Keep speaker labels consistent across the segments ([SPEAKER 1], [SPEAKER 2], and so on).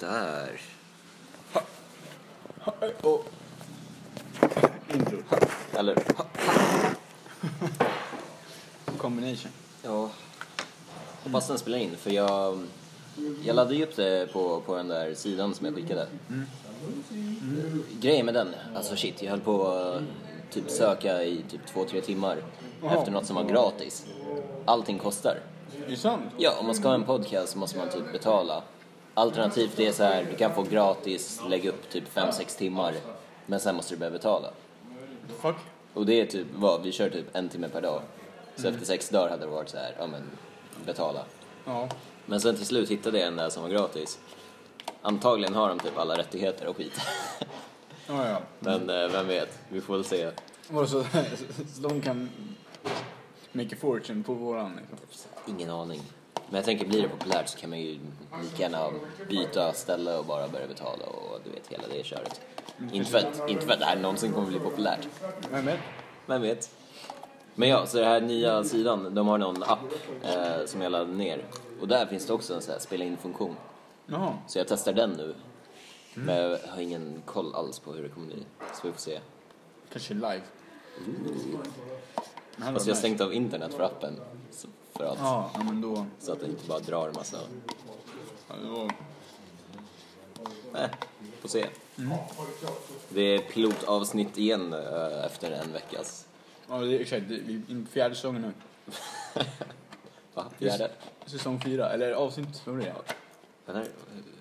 [SPEAKER 1] Där.
[SPEAKER 2] Och... Intro.
[SPEAKER 1] Eller?
[SPEAKER 2] Combination.
[SPEAKER 1] Ja. Hoppas den spelar in, för jag, jag laddade ju upp det på, på den där sidan som jag skickade.
[SPEAKER 2] Mm.
[SPEAKER 1] Grejen med den, alltså shit, jag höll på att typ söka i typ två, tre timmar efter något som var gratis. Allting kostar.
[SPEAKER 2] Är det sant?
[SPEAKER 1] Ja, om man ska ha en podcast så måste man typ betala. Alternativt det är så här, du kan få gratis, lägg upp typ 5-6 timmar, men sen måste du börja betala.
[SPEAKER 2] Fuck.
[SPEAKER 1] Och det är typ vad, vi kör typ en timme per dag. Så efter sex dagar hade det varit så här, ja men betala.
[SPEAKER 2] Ja.
[SPEAKER 1] Men sen till slut hittade jag en där som var gratis. Antagligen har de typ alla rättigheter och skit.
[SPEAKER 2] Ja, ja.
[SPEAKER 1] Men eh, vem vet, vi får väl se.
[SPEAKER 2] Vadå så, så de kan make a fortune på våran liksom.
[SPEAKER 1] Ingen aning. Men jag tänker blir det populärt så kan man ju lika gärna byta ställe och bara börja betala och du vet hela det köret. Inte för att, inte för att det här någonsin kommer bli populärt.
[SPEAKER 2] Vem vet?
[SPEAKER 1] Vem vet? Men ja, så den här nya sidan, de har någon app eh, som jag laddade ner. Och där finns det också en sån här spela in-funktion.
[SPEAKER 2] Jaha.
[SPEAKER 1] Så jag testar den nu. Men jag har ingen koll alls på hur det kommer bli. Så vi får se.
[SPEAKER 2] Kanske live.
[SPEAKER 1] Fast
[SPEAKER 2] Det hade varit
[SPEAKER 1] jag har
[SPEAKER 2] nice.
[SPEAKER 1] stängt av internet för appen. så- För allt.
[SPEAKER 2] Ja, ja, men då...
[SPEAKER 1] Så att det inte bara drar en massa...
[SPEAKER 2] Ja, det var...
[SPEAKER 1] Nej, får se. Det är pilotavsnitt igen eh, efter en veckas...
[SPEAKER 2] Ja, det är exakt. Det- Vi är in på fjärde säsongen nu.
[SPEAKER 1] Va? Fjärde?
[SPEAKER 2] Säsong fyra. Eller avsnitt, vad var det?
[SPEAKER 1] Den här-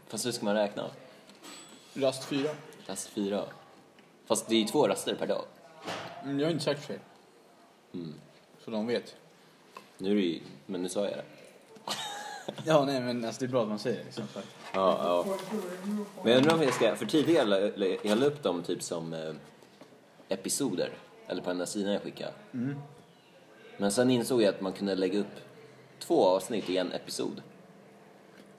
[SPEAKER 1] Fast hur ska man räkna?
[SPEAKER 2] Rast fyra.
[SPEAKER 1] Rast fyra. Fast det är ju två raster per dag.
[SPEAKER 2] Mm, Jag har inte sagt fel.
[SPEAKER 1] Mm.
[SPEAKER 2] Så de vet.
[SPEAKER 1] Nu är det ju... Men nu sa jag det.
[SPEAKER 2] Ja, nej men alltså det är bra att man säger det liksom. för att-
[SPEAKER 1] Ja, ja. Men jag undrar om jag ska... För tidigare la- la- jag la upp dem typ som eh, episoder. Eller på den där sidan jag skickade. Men sen insåg jag att man kunde lägga upp två avsnitt i en episod.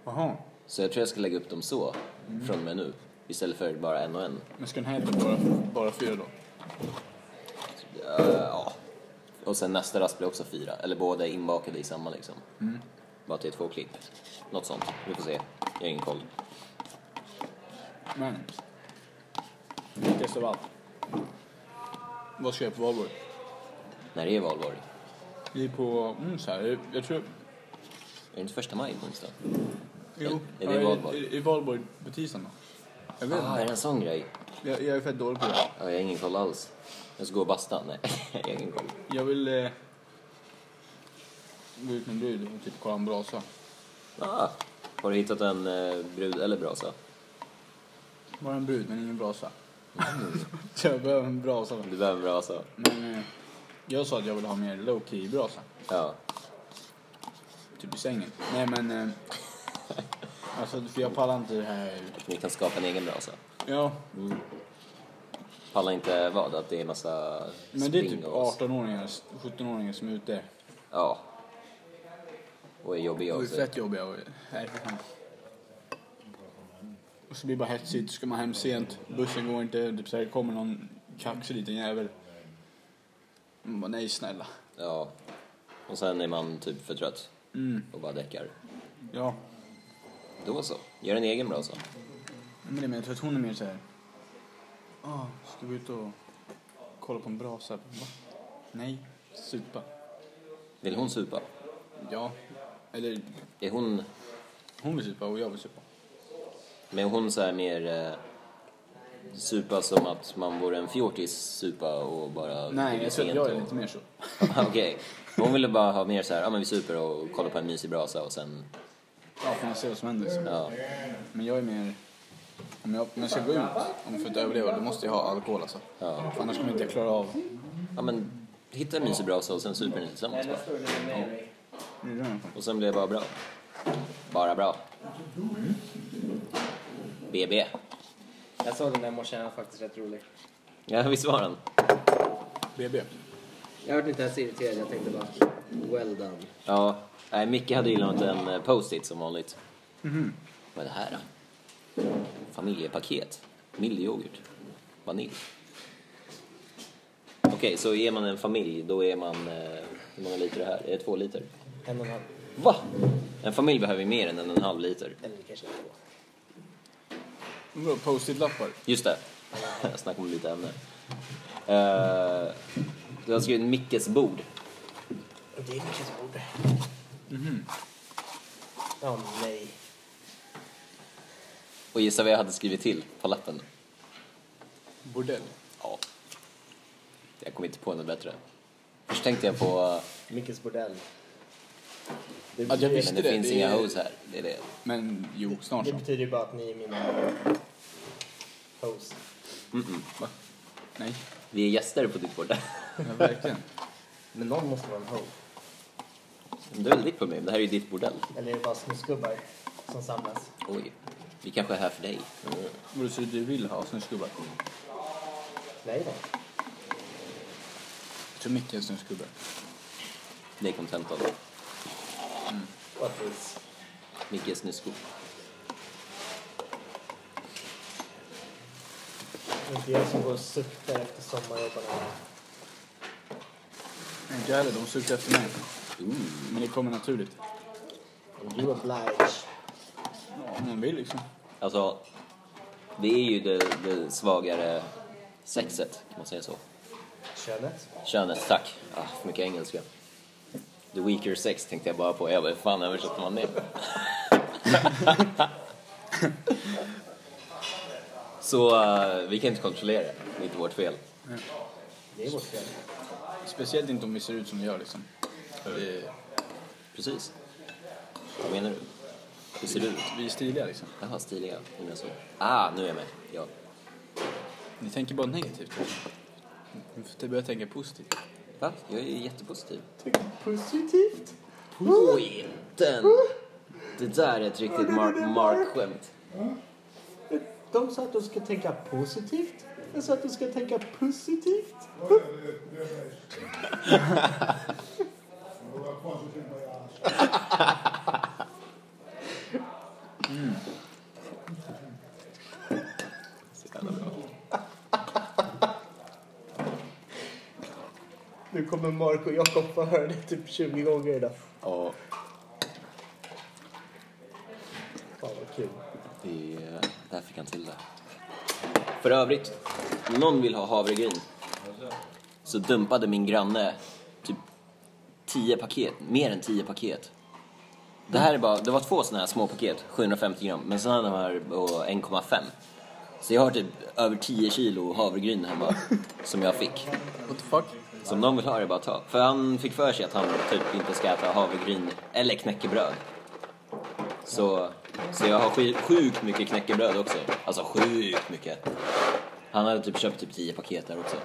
[SPEAKER 2] Jaha.
[SPEAKER 1] Så jag tror jag ska lägga upp dem så
[SPEAKER 2] Mm.
[SPEAKER 1] från och med nu. Istället för bara en och en.
[SPEAKER 2] Men ska den här heta bara, bara fyra då?
[SPEAKER 1] Eh, ja. Och sen nästa rast blir också fyra. Eller båda är inbakade i samma liksom.
[SPEAKER 2] Mm.
[SPEAKER 1] Bara att det är två klipp. Något sånt. Vi får se. Jag har ingen koll.
[SPEAKER 2] Men. Viktigast av allt. Vad ska jag på valborg?
[SPEAKER 1] När är valborg?
[SPEAKER 2] Vi är på onsdag. Jag, jag tror...
[SPEAKER 1] Är det inte första maj på onsdag?
[SPEAKER 2] Jo.
[SPEAKER 1] Är det
[SPEAKER 2] Ja,
[SPEAKER 1] valborg?
[SPEAKER 2] Är, är valborg på tisdagen då? Jag vet
[SPEAKER 1] Ah, är
[SPEAKER 2] inte.
[SPEAKER 1] det en sån grej?
[SPEAKER 2] Jag, jag är fett dålig på det.
[SPEAKER 1] Ja, jag har ingen koll alls. Jag ska gå och basta. Nej, jag har ingen koll.
[SPEAKER 2] Jag vill... Eh, gå ut med en brud och typ kolla en brasa.
[SPEAKER 1] Ah, har du hittat en eh, brud eller brasa?
[SPEAKER 2] Bara en brud men ingen brasa. Så jag behöver en brasa.
[SPEAKER 1] Du behöver en brasa.
[SPEAKER 2] Men eh, jag sa att jag ville ha mer low key brasa.
[SPEAKER 1] Ja.
[SPEAKER 2] Typ i sängen. Nej men... Eh, alltså för jag pallar inte det här...
[SPEAKER 1] Ni kan skapa en egen brasa.
[SPEAKER 2] Ja,
[SPEAKER 1] Pallar inte vad? Att det är massa
[SPEAKER 2] men det är
[SPEAKER 1] spring
[SPEAKER 2] typ
[SPEAKER 1] och-
[SPEAKER 2] 18-åringar, 17-åringar som är ute.
[SPEAKER 1] Ja. Och är jobbiga
[SPEAKER 2] De är
[SPEAKER 1] också.
[SPEAKER 2] fett jobbiga och här för fan. Och så blir det bara hetsigt, så ska man hem sent, bussen går inte, typ så här kommer någon kaxig liten jävel. Man bara, nej snälla.
[SPEAKER 1] Ja. Och sen är man typ för trött.
[SPEAKER 2] Mm.
[SPEAKER 1] Och bara däckar.
[SPEAKER 2] Ja,
[SPEAKER 1] Då så. Gör en egen brasa.
[SPEAKER 2] men det menar jag tror att hon är mer så här. Ah, ska vi ut och kolla på en brasa? Va? Nej, supa.
[SPEAKER 1] Vill hon supa?
[SPEAKER 2] Ja, eller
[SPEAKER 1] Är hon...
[SPEAKER 2] hon vill supa och jag vill supa.
[SPEAKER 1] Men hon så här mer... Eh, supa som att man vore en fjortis supa och bara... ligger
[SPEAKER 2] Nej, jag tror att
[SPEAKER 1] sent
[SPEAKER 2] jag är
[SPEAKER 1] och-
[SPEAKER 2] lite mer så.
[SPEAKER 1] Okej. Men Hon ville bara ha mer så här, ja men vi super och kollar på en mysig brasa och sen,
[SPEAKER 2] Ja, får man se vad som händer. liksom.
[SPEAKER 1] ja.
[SPEAKER 2] Men jag är mer... Om jag, om jag ska gå ut, om för att överleva, då måste jag ha alkohol alltså.
[SPEAKER 1] Ja.
[SPEAKER 2] För annars kommer jag inte klara av...
[SPEAKER 1] Ja men, hitta en mysig brasa och sen super ni tillsammans bara.
[SPEAKER 2] Nu är det här.
[SPEAKER 1] Och sen blir det bara bra. Bara bra. BB.
[SPEAKER 3] Jag såg den där i morse, den var faktiskt rätt rolig.
[SPEAKER 1] Ja, visst var den?
[SPEAKER 2] BB.
[SPEAKER 3] Jag vart inte ens irriterad, jag tänkte bara well done.
[SPEAKER 1] Ja. Nej, Micke hade gillat en eh, post-it som vanligt. Mhm. Vad är det här då? Familjepaket. Miljöyoghurt. Vanilj. Okej, så är man en familj, då är man... Eh, hur många liter är det här? Är det två liter?
[SPEAKER 3] En och en halv.
[SPEAKER 1] Va? En familj behöver ju mer än en och en halv liter.
[SPEAKER 3] Eller kanske två.
[SPEAKER 2] Vadå, post-it-lappar?
[SPEAKER 1] Just det. Snacka om lite ämne. Eh, du har skrivit Mickes bord.
[SPEAKER 4] Det är Nickes bord.
[SPEAKER 3] Mhm.
[SPEAKER 4] Åh nej.
[SPEAKER 1] Och gissa vad jag hade skrivit till på lappen.
[SPEAKER 2] Bordell?
[SPEAKER 1] Ja. Jag kom inte på något bättre. Först tänkte jag på...
[SPEAKER 4] Mickes bordell.
[SPEAKER 2] Ja, jag visste
[SPEAKER 1] Men det,
[SPEAKER 2] det.
[SPEAKER 1] finns
[SPEAKER 2] det
[SPEAKER 1] inga
[SPEAKER 2] är-
[SPEAKER 1] hoes här. Det är det.
[SPEAKER 2] Men jo, snart
[SPEAKER 4] Det
[SPEAKER 2] så.
[SPEAKER 4] betyder ju bara att ni är mina hoes.
[SPEAKER 2] Va? Nej,
[SPEAKER 1] Vi är gäster på ditt bord.
[SPEAKER 2] ja, verkligen.
[SPEAKER 4] Men någon måste vara en ho.
[SPEAKER 1] Det är väl ditt problem. Det här är ju ditt bordell.
[SPEAKER 4] Eller är det bara snuskgubbar som samlas?
[SPEAKER 1] Oj. Vi kanske är här för dig.
[SPEAKER 2] Vadå, så du vill ha snusgubbar?
[SPEAKER 4] Nej, nej.
[SPEAKER 2] Jag tror mycket är snusgubbar.
[SPEAKER 1] Det är kontentan.
[SPEAKER 4] What is?
[SPEAKER 1] Mickes snusko.
[SPEAKER 4] Det är inte jag som går och suktar efter sommarjobbarna.
[SPEAKER 2] Nej, inte jag heller. De suktar efter mig.
[SPEAKER 1] Ooh.
[SPEAKER 2] Mm. Men det kommer naturligt.
[SPEAKER 4] You oblige.
[SPEAKER 2] Ja, om man vill liksom.
[SPEAKER 1] Alltså, det är ju det, det svagare sexet, kan man säga så.
[SPEAKER 4] Könet?
[SPEAKER 1] Könet, tack. Ah, för mycket engelska. The weaker sex tänkte jag bara på. Jag bara, hur fan översätter man det? så eh, vi kan inte kontrollera det. Det är inte vårt fel.
[SPEAKER 4] Det är vårt fel.
[SPEAKER 2] Speciellt inte om vi ser ut som vi gör liksom. Vi,
[SPEAKER 1] Precis. Vad menar du? Hur ser du ut?
[SPEAKER 2] vi är stiliga liksom.
[SPEAKER 1] Jaha, stiliga. Nu är jag så. Ah, nu är jag med. Ja.
[SPEAKER 2] Ni tänker bara negativt. Ni får typ börja tänka positivt.
[SPEAKER 1] Va? Jag är ju jättepositiv.
[SPEAKER 4] Positivt?
[SPEAKER 1] Oj, den! Det där är ett riktigt Mark- Mark-skämt.
[SPEAKER 4] De sa att du ska tänka positivt. Jag sa att du ska tänka positivt. Nu kommer Mark och Jakob få höra det typ 20 gånger idag.
[SPEAKER 1] Ja,
[SPEAKER 4] Fan vad kul.
[SPEAKER 1] det eh, där fick han till det. För övrigt, om någon vill ha havregryn så dumpade min granne typ 10 paket, mer än 10 paket. Det här är bara, det var två sådana här små paket, 750 gram, men sen hade de här på 1,5. Så jag har typ över 10 kilo havregryn hemma som jag fick.
[SPEAKER 2] What the fuck?
[SPEAKER 1] Som någon vill ha är det bara att ta. För han fick för sig att han typ inte ska äta havregryn eller knäckebröd. Så, så jag har sj- sjukt mycket knäckebröd också. Alltså sjukt mycket. Han hade typ köpt typ 10 paket där också.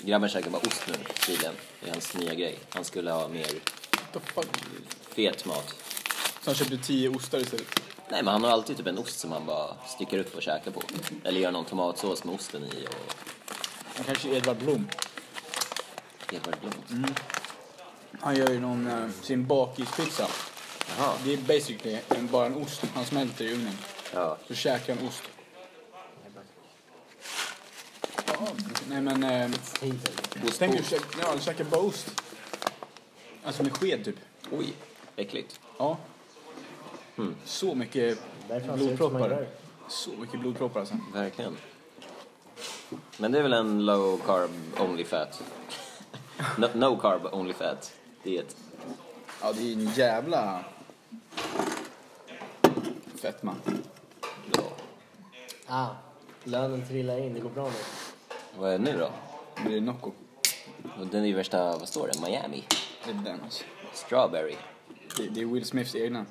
[SPEAKER 1] Grabben käkar bara ost nu tydligen. Det är hans nya grej. Han skulle ha mer
[SPEAKER 2] What the fuck?
[SPEAKER 1] fet mat.
[SPEAKER 2] Så han köpte tio ostar istället.
[SPEAKER 1] Nej men han har alltid typ en ost som han bara sticker upp och käkar på. Eller gör någon tomatsås med osten i och
[SPEAKER 2] Han kanske är Edvard Blom.
[SPEAKER 1] helt värdelöst.
[SPEAKER 2] Han gör ju någon, eh, sin bakispizza.
[SPEAKER 1] Jaha.
[SPEAKER 2] Det är basically en, bara en ost. Han smälter i ugnen.
[SPEAKER 1] Ja.
[SPEAKER 2] Så käkar han ost. Ja, nej men... Eh, tänk dig att käka, ja, han käkar bara ost. Alltså med sked typ.
[SPEAKER 1] Oj, äckligt.
[SPEAKER 2] Ja. Så mycket
[SPEAKER 4] Därför han ser ut som han
[SPEAKER 2] blodproppar.
[SPEAKER 4] gör.
[SPEAKER 2] Så mycket blodproppar alltså.
[SPEAKER 1] Verkligen. Men det är väl en low carb only fat? No, no carb only fat diet.
[SPEAKER 2] Ja, det är en jävla... Fetma.
[SPEAKER 1] Ja.
[SPEAKER 4] Ah, lönen trillar in. Det går bra nu.
[SPEAKER 1] Vad är det nu då?
[SPEAKER 2] Men det är Nocco.
[SPEAKER 1] Den är ju värsta, vad står det? Miami?
[SPEAKER 2] Det är den alltså.
[SPEAKER 1] Strawberry.
[SPEAKER 2] Det, det är Will Smiths egna.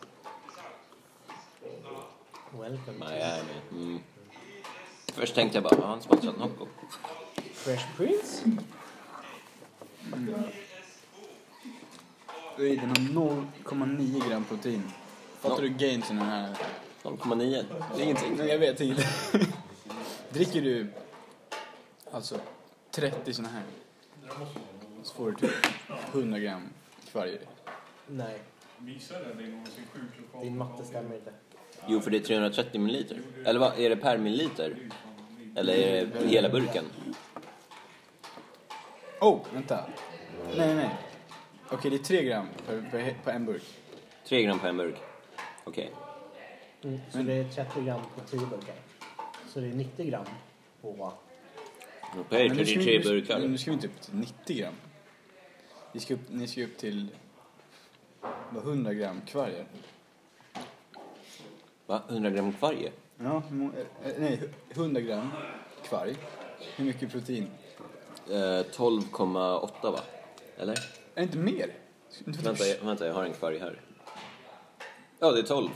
[SPEAKER 4] Welcome to
[SPEAKER 1] Miami. Mm. Först tänkte jag bara, har han sponsrat Nocco?
[SPEAKER 4] Fresh Prince.
[SPEAKER 2] Oj, Den har 0,9 gram protein. Fattar
[SPEAKER 1] No.
[SPEAKER 2] du gainsen i den här?
[SPEAKER 1] 0,9.
[SPEAKER 2] Det är ingenting. Nej, jag vet inte. Dricker du alltså 30 såna här så får du typ 100 gram varje.
[SPEAKER 4] Nej,
[SPEAKER 5] Missade ni någonsin sjuklokalen?
[SPEAKER 4] din matte stämmer inte.
[SPEAKER 1] Jo, för det är 330 milliliter. Eller vad, är det per milliliter? Eller är det hela burken?
[SPEAKER 2] Oh, vänta. Nej, nej. Okej, det är 3 gram på, på, på en burk.
[SPEAKER 1] 3 gram på en burk. Okej.
[SPEAKER 4] Mm, så
[SPEAKER 2] Men-
[SPEAKER 4] det är 30 gram på 10 burkar. Så det är 90 gram på...
[SPEAKER 1] Okej,
[SPEAKER 2] Men nu ska
[SPEAKER 1] 33
[SPEAKER 2] vi- men
[SPEAKER 1] burkar.
[SPEAKER 2] Nu ska vi inte upp till 90 gram. Ni ska upp, ni ska upp till vad, 100 gram kvargar.
[SPEAKER 1] Va? 100 gram kvarg?
[SPEAKER 2] Ja, hur må- eh, eh, nej, 100 gram kvarg. Hur mycket protein?
[SPEAKER 1] Eh, 12,8 va? Eller?
[SPEAKER 2] Är det inte typ- mer?
[SPEAKER 1] Vänta jag, vänta, jag har en kvarg här. Ja, det är 12.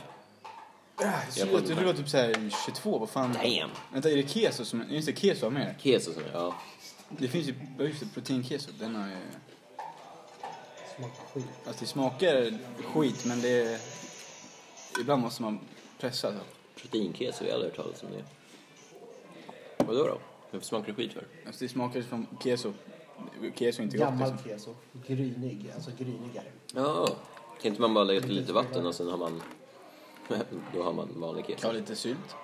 [SPEAKER 2] Ah, Jag
[SPEAKER 1] Jag
[SPEAKER 2] trodde att
[SPEAKER 1] får-
[SPEAKER 2] du var typ såhär 22, vad fan?
[SPEAKER 1] Damn!
[SPEAKER 2] Vänta, är det keso som... Just det, keso har med det.
[SPEAKER 1] Keso som ja.
[SPEAKER 2] Det finns ju... Ja, just det, proteinkeso. Den har ju...
[SPEAKER 4] Smakar skit.
[SPEAKER 2] Alltså det smakar skit, men det... är- Ibland måste man pressa. Så.
[SPEAKER 1] Proteinkeso, jag har aldrig hört talas om det. Vadå då? Varför smakar det skit för?
[SPEAKER 2] Alltså det smakar som keso. Keso är inte gott.
[SPEAKER 4] Gammal
[SPEAKER 2] Liksom.
[SPEAKER 4] keso. Grynig. Alltså grynigare.
[SPEAKER 1] Ja, kan inte man bara lägga till lite vatten och sen har man... Då har man vanlig keso.
[SPEAKER 2] Kan ha lite sylt.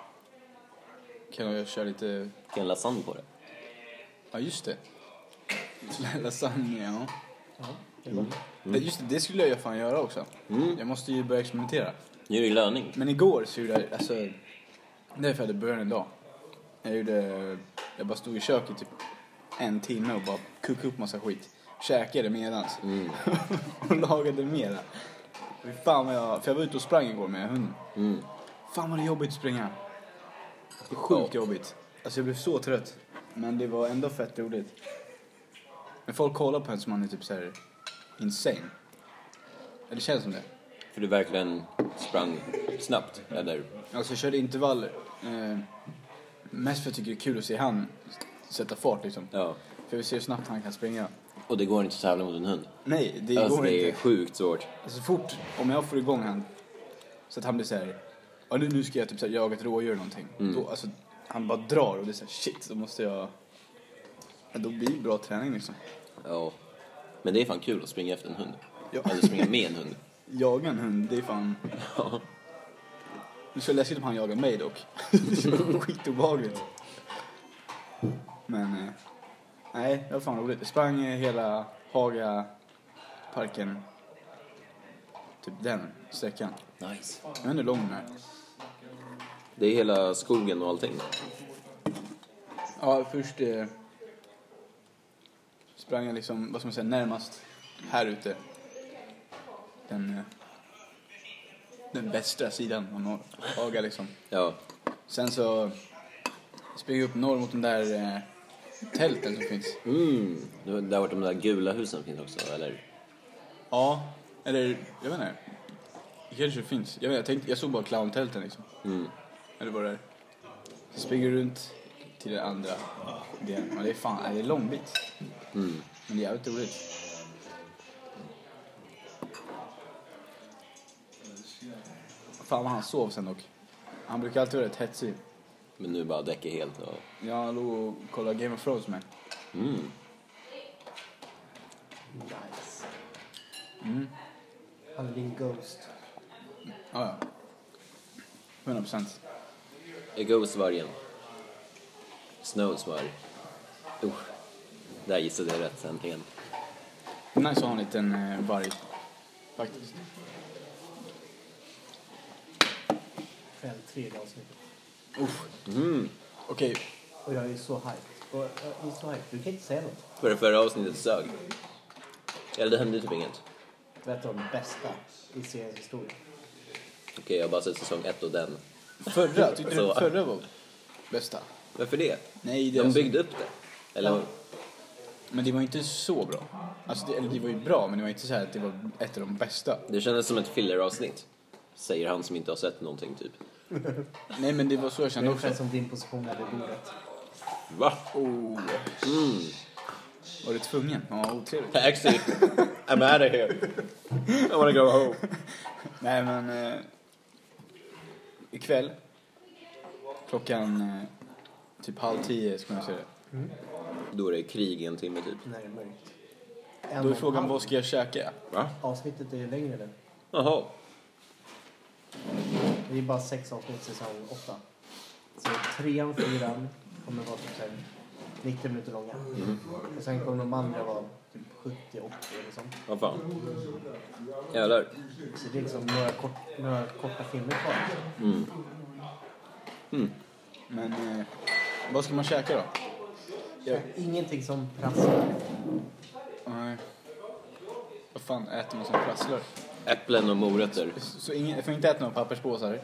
[SPEAKER 2] Kan jag köra lite...
[SPEAKER 1] Kan jag lasagne på det?
[SPEAKER 2] Ja, just det. Lasagne, ja.
[SPEAKER 4] Ja, det är gott.
[SPEAKER 2] Det- Just det, det skulle jag ju fan göra också. Jag måste ju börja experimentera.
[SPEAKER 1] Nu är det löning.
[SPEAKER 2] Men igår så gjorde jag, alltså, det är för att det började en dag. Jag gjorde, jag bara stod i köket typ en timme och bara kokade upp massa skit. Käkade medans. och lagade mera. Fy Fan vad jag, för jag var ute och sprang igår med hunden. Fan vad det är jobbigt att springa. Det är sjukt jobbigt. Alltså jag blev så trött. Men det var ändå fett roligt. Men folk kollar på en som man är typ såhär insane. Eller det känns som det.
[SPEAKER 1] För du verkligen sprang snabbt, eller?
[SPEAKER 2] Alltså jag körde intervaller. Eh, mest för att jag tycker det är kul att se han sätta fart liksom.
[SPEAKER 1] Ja.
[SPEAKER 2] För vi ser hur snabbt han kan springa.
[SPEAKER 1] Och det går inte att tävla mot en hund.
[SPEAKER 2] Nej, det
[SPEAKER 1] alltså
[SPEAKER 2] går
[SPEAKER 1] det är
[SPEAKER 2] inte.
[SPEAKER 1] sjukt svårt.
[SPEAKER 2] Alltså fort, om jag får igång han så att han blir såhär, ja nu, nu ska jag typ så här, jaga ett rådjur eller någonting.
[SPEAKER 1] Mm.
[SPEAKER 2] Då, alltså, han bara drar och det är såhär shit, då måste jag... Ja, Då blir det bra träning liksom.
[SPEAKER 1] Ja. Men det är fan kul att springa efter en hund.
[SPEAKER 2] Ja.
[SPEAKER 1] Eller springa med en hund.
[SPEAKER 2] Jaga en hund, det är fan...
[SPEAKER 1] Ja.
[SPEAKER 2] Det är så läskigt om han jagar mig dock. Det är så Skitobehagligt. Men eh, nej, det var fan roligt. Jag sprang eh, hela Haga parken. Typ den sträckan.
[SPEAKER 1] Nice.
[SPEAKER 2] Jag vet inte hur lång den är.
[SPEAKER 1] Det är hela skogen och allting.
[SPEAKER 2] Ja, först eh, sprang jag liksom, vad ska man säga, närmast här ute. Den, eh, den västra sidan av norr- Haga liksom.
[SPEAKER 1] Ja.
[SPEAKER 2] Sen så springer jag upp norr mot de där eh, tälten som finns.
[SPEAKER 1] Mm. Det var- Där vart de där gula husen finns också, eller?
[SPEAKER 2] Ja, eller jag vet inte. Det kanske finns. Jag, vet, jag, tänkte, jag såg bara clowntälten liksom.
[SPEAKER 1] Mm.
[SPEAKER 2] Eller vad det är. Så springer jag runt till den andra delen. Men det är fan, nej, det är lång bit. Men det är jävligt roligt. Fan vad han sov sen dock. Han brukar alltid vara rätt hetsig.
[SPEAKER 1] Men nu bara däcker helt och...
[SPEAKER 2] Ja, han låg och kollade Game of Thrones med.
[SPEAKER 1] Mm.
[SPEAKER 4] Nice.
[SPEAKER 2] Mm.
[SPEAKER 4] Han är din ghost.
[SPEAKER 2] Ja, ja. 100 procent.
[SPEAKER 1] Är Ghost-vargen? Snows varg. Usch. Där gissade jag rätt äntligen.
[SPEAKER 2] Nice att ha en liten eh, varg. Faktiskt.
[SPEAKER 4] Kväll tre avsnitt.
[SPEAKER 2] Okej,
[SPEAKER 4] Och jag är så hyped. Och, jag är så hyped. Du kan inte säga något.
[SPEAKER 1] För det förra avsnittet sög. Eller det hände typ inget.
[SPEAKER 4] Det är ett av de bästa i seriens historia.
[SPEAKER 1] Okej, jag har bara sett säsong ett och den.
[SPEAKER 2] förra. Tyckte du
[SPEAKER 1] Så.
[SPEAKER 2] förra var bästa?
[SPEAKER 1] Varför det?
[SPEAKER 2] Nej, det är
[SPEAKER 1] De
[SPEAKER 2] alltså-
[SPEAKER 1] byggde upp det. Eller?
[SPEAKER 2] Men det var inte så bra. Alltså, det, eller det var ju bra, men det var inte så här att det var ett av de bästa.
[SPEAKER 1] Det kändes som ett filleravsnitt. Säger han som inte har sett någonting typ.
[SPEAKER 2] Nej, men det var så jag
[SPEAKER 4] Det är
[SPEAKER 2] kände också.
[SPEAKER 4] ungefär som din position här vid bordet.
[SPEAKER 1] Va?
[SPEAKER 2] Oh.
[SPEAKER 1] Mm.
[SPEAKER 2] Var du tvungen? Ja, otrevligt.
[SPEAKER 1] Taxi! I'm out of here! I wanna go home!
[SPEAKER 2] Nej, men... Eh, ikväll, klockan eh, typ halv tio, ska man säga det.
[SPEAKER 1] Då är det krig i en timme typ.
[SPEAKER 4] När det är mörkt.
[SPEAKER 2] Då
[SPEAKER 4] En
[SPEAKER 2] är
[SPEAKER 4] och en
[SPEAKER 2] frågan,
[SPEAKER 4] halv.
[SPEAKER 2] vad ska jag käka?
[SPEAKER 1] Va?
[SPEAKER 4] Avsnittet är ju längre nu.
[SPEAKER 1] Jaha.
[SPEAKER 4] Det är bara sex avsnitt säsong åtta. Så trean, fyran kommer vara typ så här 90 minuter långa. Och sen kommer de andra vara 70-80 eller sånt.
[SPEAKER 1] Vad fan. Jävlar.
[SPEAKER 4] Så det är liksom några, kort, några korta filmer kvar.
[SPEAKER 1] Mm.
[SPEAKER 2] Men eh, vad ska man käka då?
[SPEAKER 4] Så Ingenting som prasslar.
[SPEAKER 2] Nej. Vad fan äter man som prasslar?
[SPEAKER 1] Äpplen och morötter.
[SPEAKER 2] Så så ingen, jag får inte äta några papperspåsar?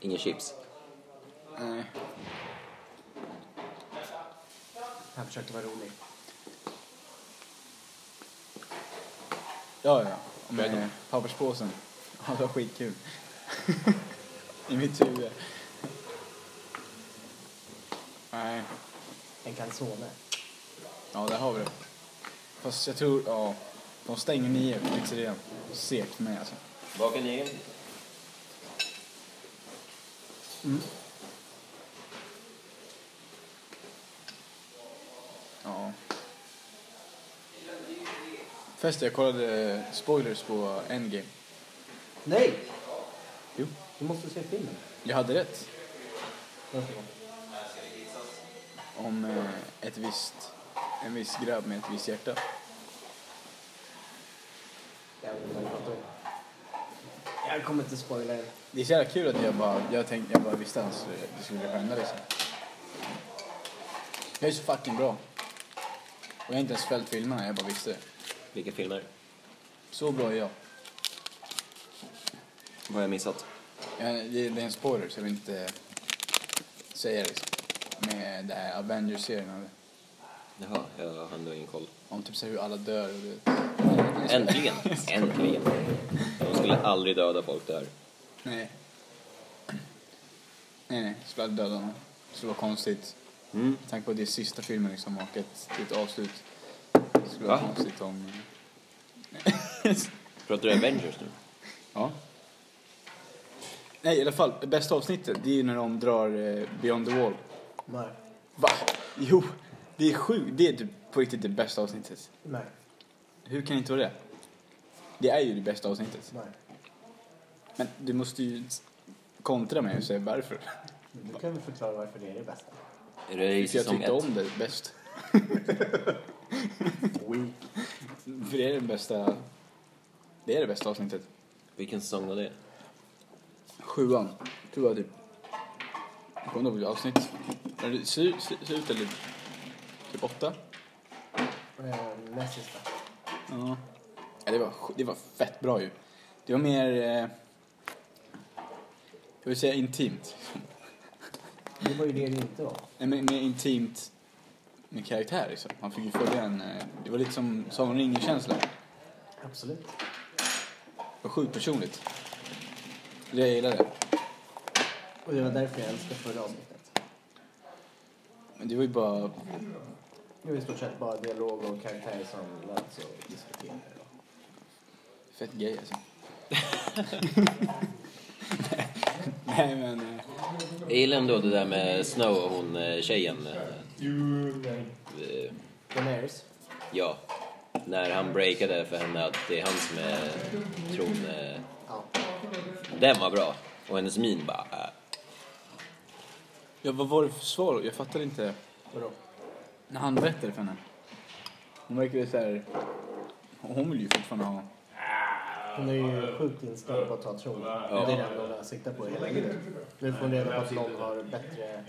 [SPEAKER 1] Inga chips.
[SPEAKER 2] Nej.
[SPEAKER 4] Han försökte vara rolig.
[SPEAKER 2] Ja, ja. Med papperspåsen. Ja, det var skitkul. I mitt huvud. Nej.
[SPEAKER 4] En calzone.
[SPEAKER 2] Ja, där har vi det. Fast jag tror, ja. De stänger nio på pizzerian. Segt för mig alltså.
[SPEAKER 1] Baka en egen.
[SPEAKER 2] Ja. Förresten, jag kollade eh, spoilers på Endgame.
[SPEAKER 4] Nej!
[SPEAKER 2] Jo.
[SPEAKER 4] Du måste se filmen.
[SPEAKER 2] Jag hade rätt.
[SPEAKER 4] Nästa gång.
[SPEAKER 2] Om eh, ett visst, en viss grabb med ett visst hjärta.
[SPEAKER 4] Jag vet inte vad jag pratar om. Jag kommer inte spoila er.
[SPEAKER 2] Det är så jävla kul att jag bara, jag tänkte, jag bara visste att det skulle hända liksom. Jag är så fucking bra. Och jag har inte ens följt filmerna, jag bara visste.
[SPEAKER 1] Vilka filmer?
[SPEAKER 2] Så bra är jag.
[SPEAKER 1] Vad har jag missat?
[SPEAKER 2] jag det, det är en spoiler så jag vill inte säga liksom. Med det här Avengers-serien.
[SPEAKER 1] Jaha, jag hann då ingen koll.
[SPEAKER 2] Om typ så här hur alla dör och det.
[SPEAKER 1] Äntligen! Äntligen! De skulle aldrig döda folk där.
[SPEAKER 2] Nej. Nej, nej. Skulle aldrig döda någon. Det skulle vara konstigt.
[SPEAKER 1] Mm.
[SPEAKER 2] Med tanke på att det är sista filmen liksom och ett, det är ett avslut. Det skulle
[SPEAKER 1] Va?
[SPEAKER 2] vara konstigt om...
[SPEAKER 1] Pratar du Avengers nu?
[SPEAKER 2] ja. Nej, i alla fall. Det bästa avsnittet, det är ju när de drar eh, Beyond the Wall.
[SPEAKER 4] Nej.
[SPEAKER 2] Va? Jo! Det är sjukt. Det är typ på riktigt det bästa avsnittet.
[SPEAKER 4] Nej.
[SPEAKER 2] Hur kan det inte vara det? Det är ju det bästa avsnittet.
[SPEAKER 4] Nej.
[SPEAKER 2] Men du måste ju kontra mig och säga varför.
[SPEAKER 4] Men Du kan väl förklara varför det är det bästa.
[SPEAKER 1] Är det i
[SPEAKER 2] För jag
[SPEAKER 1] säsong
[SPEAKER 2] tyckte
[SPEAKER 1] ett?
[SPEAKER 2] om det bäst. För det är det bästa... Det är det bästa avsnittet.
[SPEAKER 1] Vilken säsong var det?
[SPEAKER 2] Sjuan, tror jag typ. Jag kommer inte ihåg vilket avsnitt. Är det slut eller typ åtta?
[SPEAKER 4] Eh, Näst sista.
[SPEAKER 2] Ja. ja det, var, sj- det var fett bra ju. Det var mer... Eh, jag vill säga intimt.
[SPEAKER 4] Det var ju det det inte var.
[SPEAKER 2] Nej, men mer intimt med karaktär liksom. Man fick ju följa en... Eh, det var lite som Sagan om ringen-känsla.
[SPEAKER 4] Absolut.
[SPEAKER 2] Det var sjukt personligt. Det jag gillade.
[SPEAKER 4] Och det var därför jag älskade förra avsnittet.
[SPEAKER 2] Men det var ju bara...
[SPEAKER 4] Det var i stort sett bara dialog och karaktärer som möts och diskuterar.
[SPEAKER 2] Fett gay alltså. Nej men... eh,
[SPEAKER 1] Jag gillar ändå det där med Snow och hon eh, tjejen. eh, eh,
[SPEAKER 4] Daenerys.
[SPEAKER 1] Ja. När han breakade för henne att det är han som är tron... eh,
[SPEAKER 4] Ja.
[SPEAKER 1] Den var bra. Och hennes min bara... eh,
[SPEAKER 2] Ja, vad var det för svar? Jag fattar inte.
[SPEAKER 4] Vadå?
[SPEAKER 2] När han berättade för henne. Hon verkar ju såhär... Hon vill ju fortfarande ha...
[SPEAKER 4] Hon är ju sjukt inställd på att ta tronen. Det är det enda hon siktar på i hela tiden. Nu får hon reda på att någon har bättre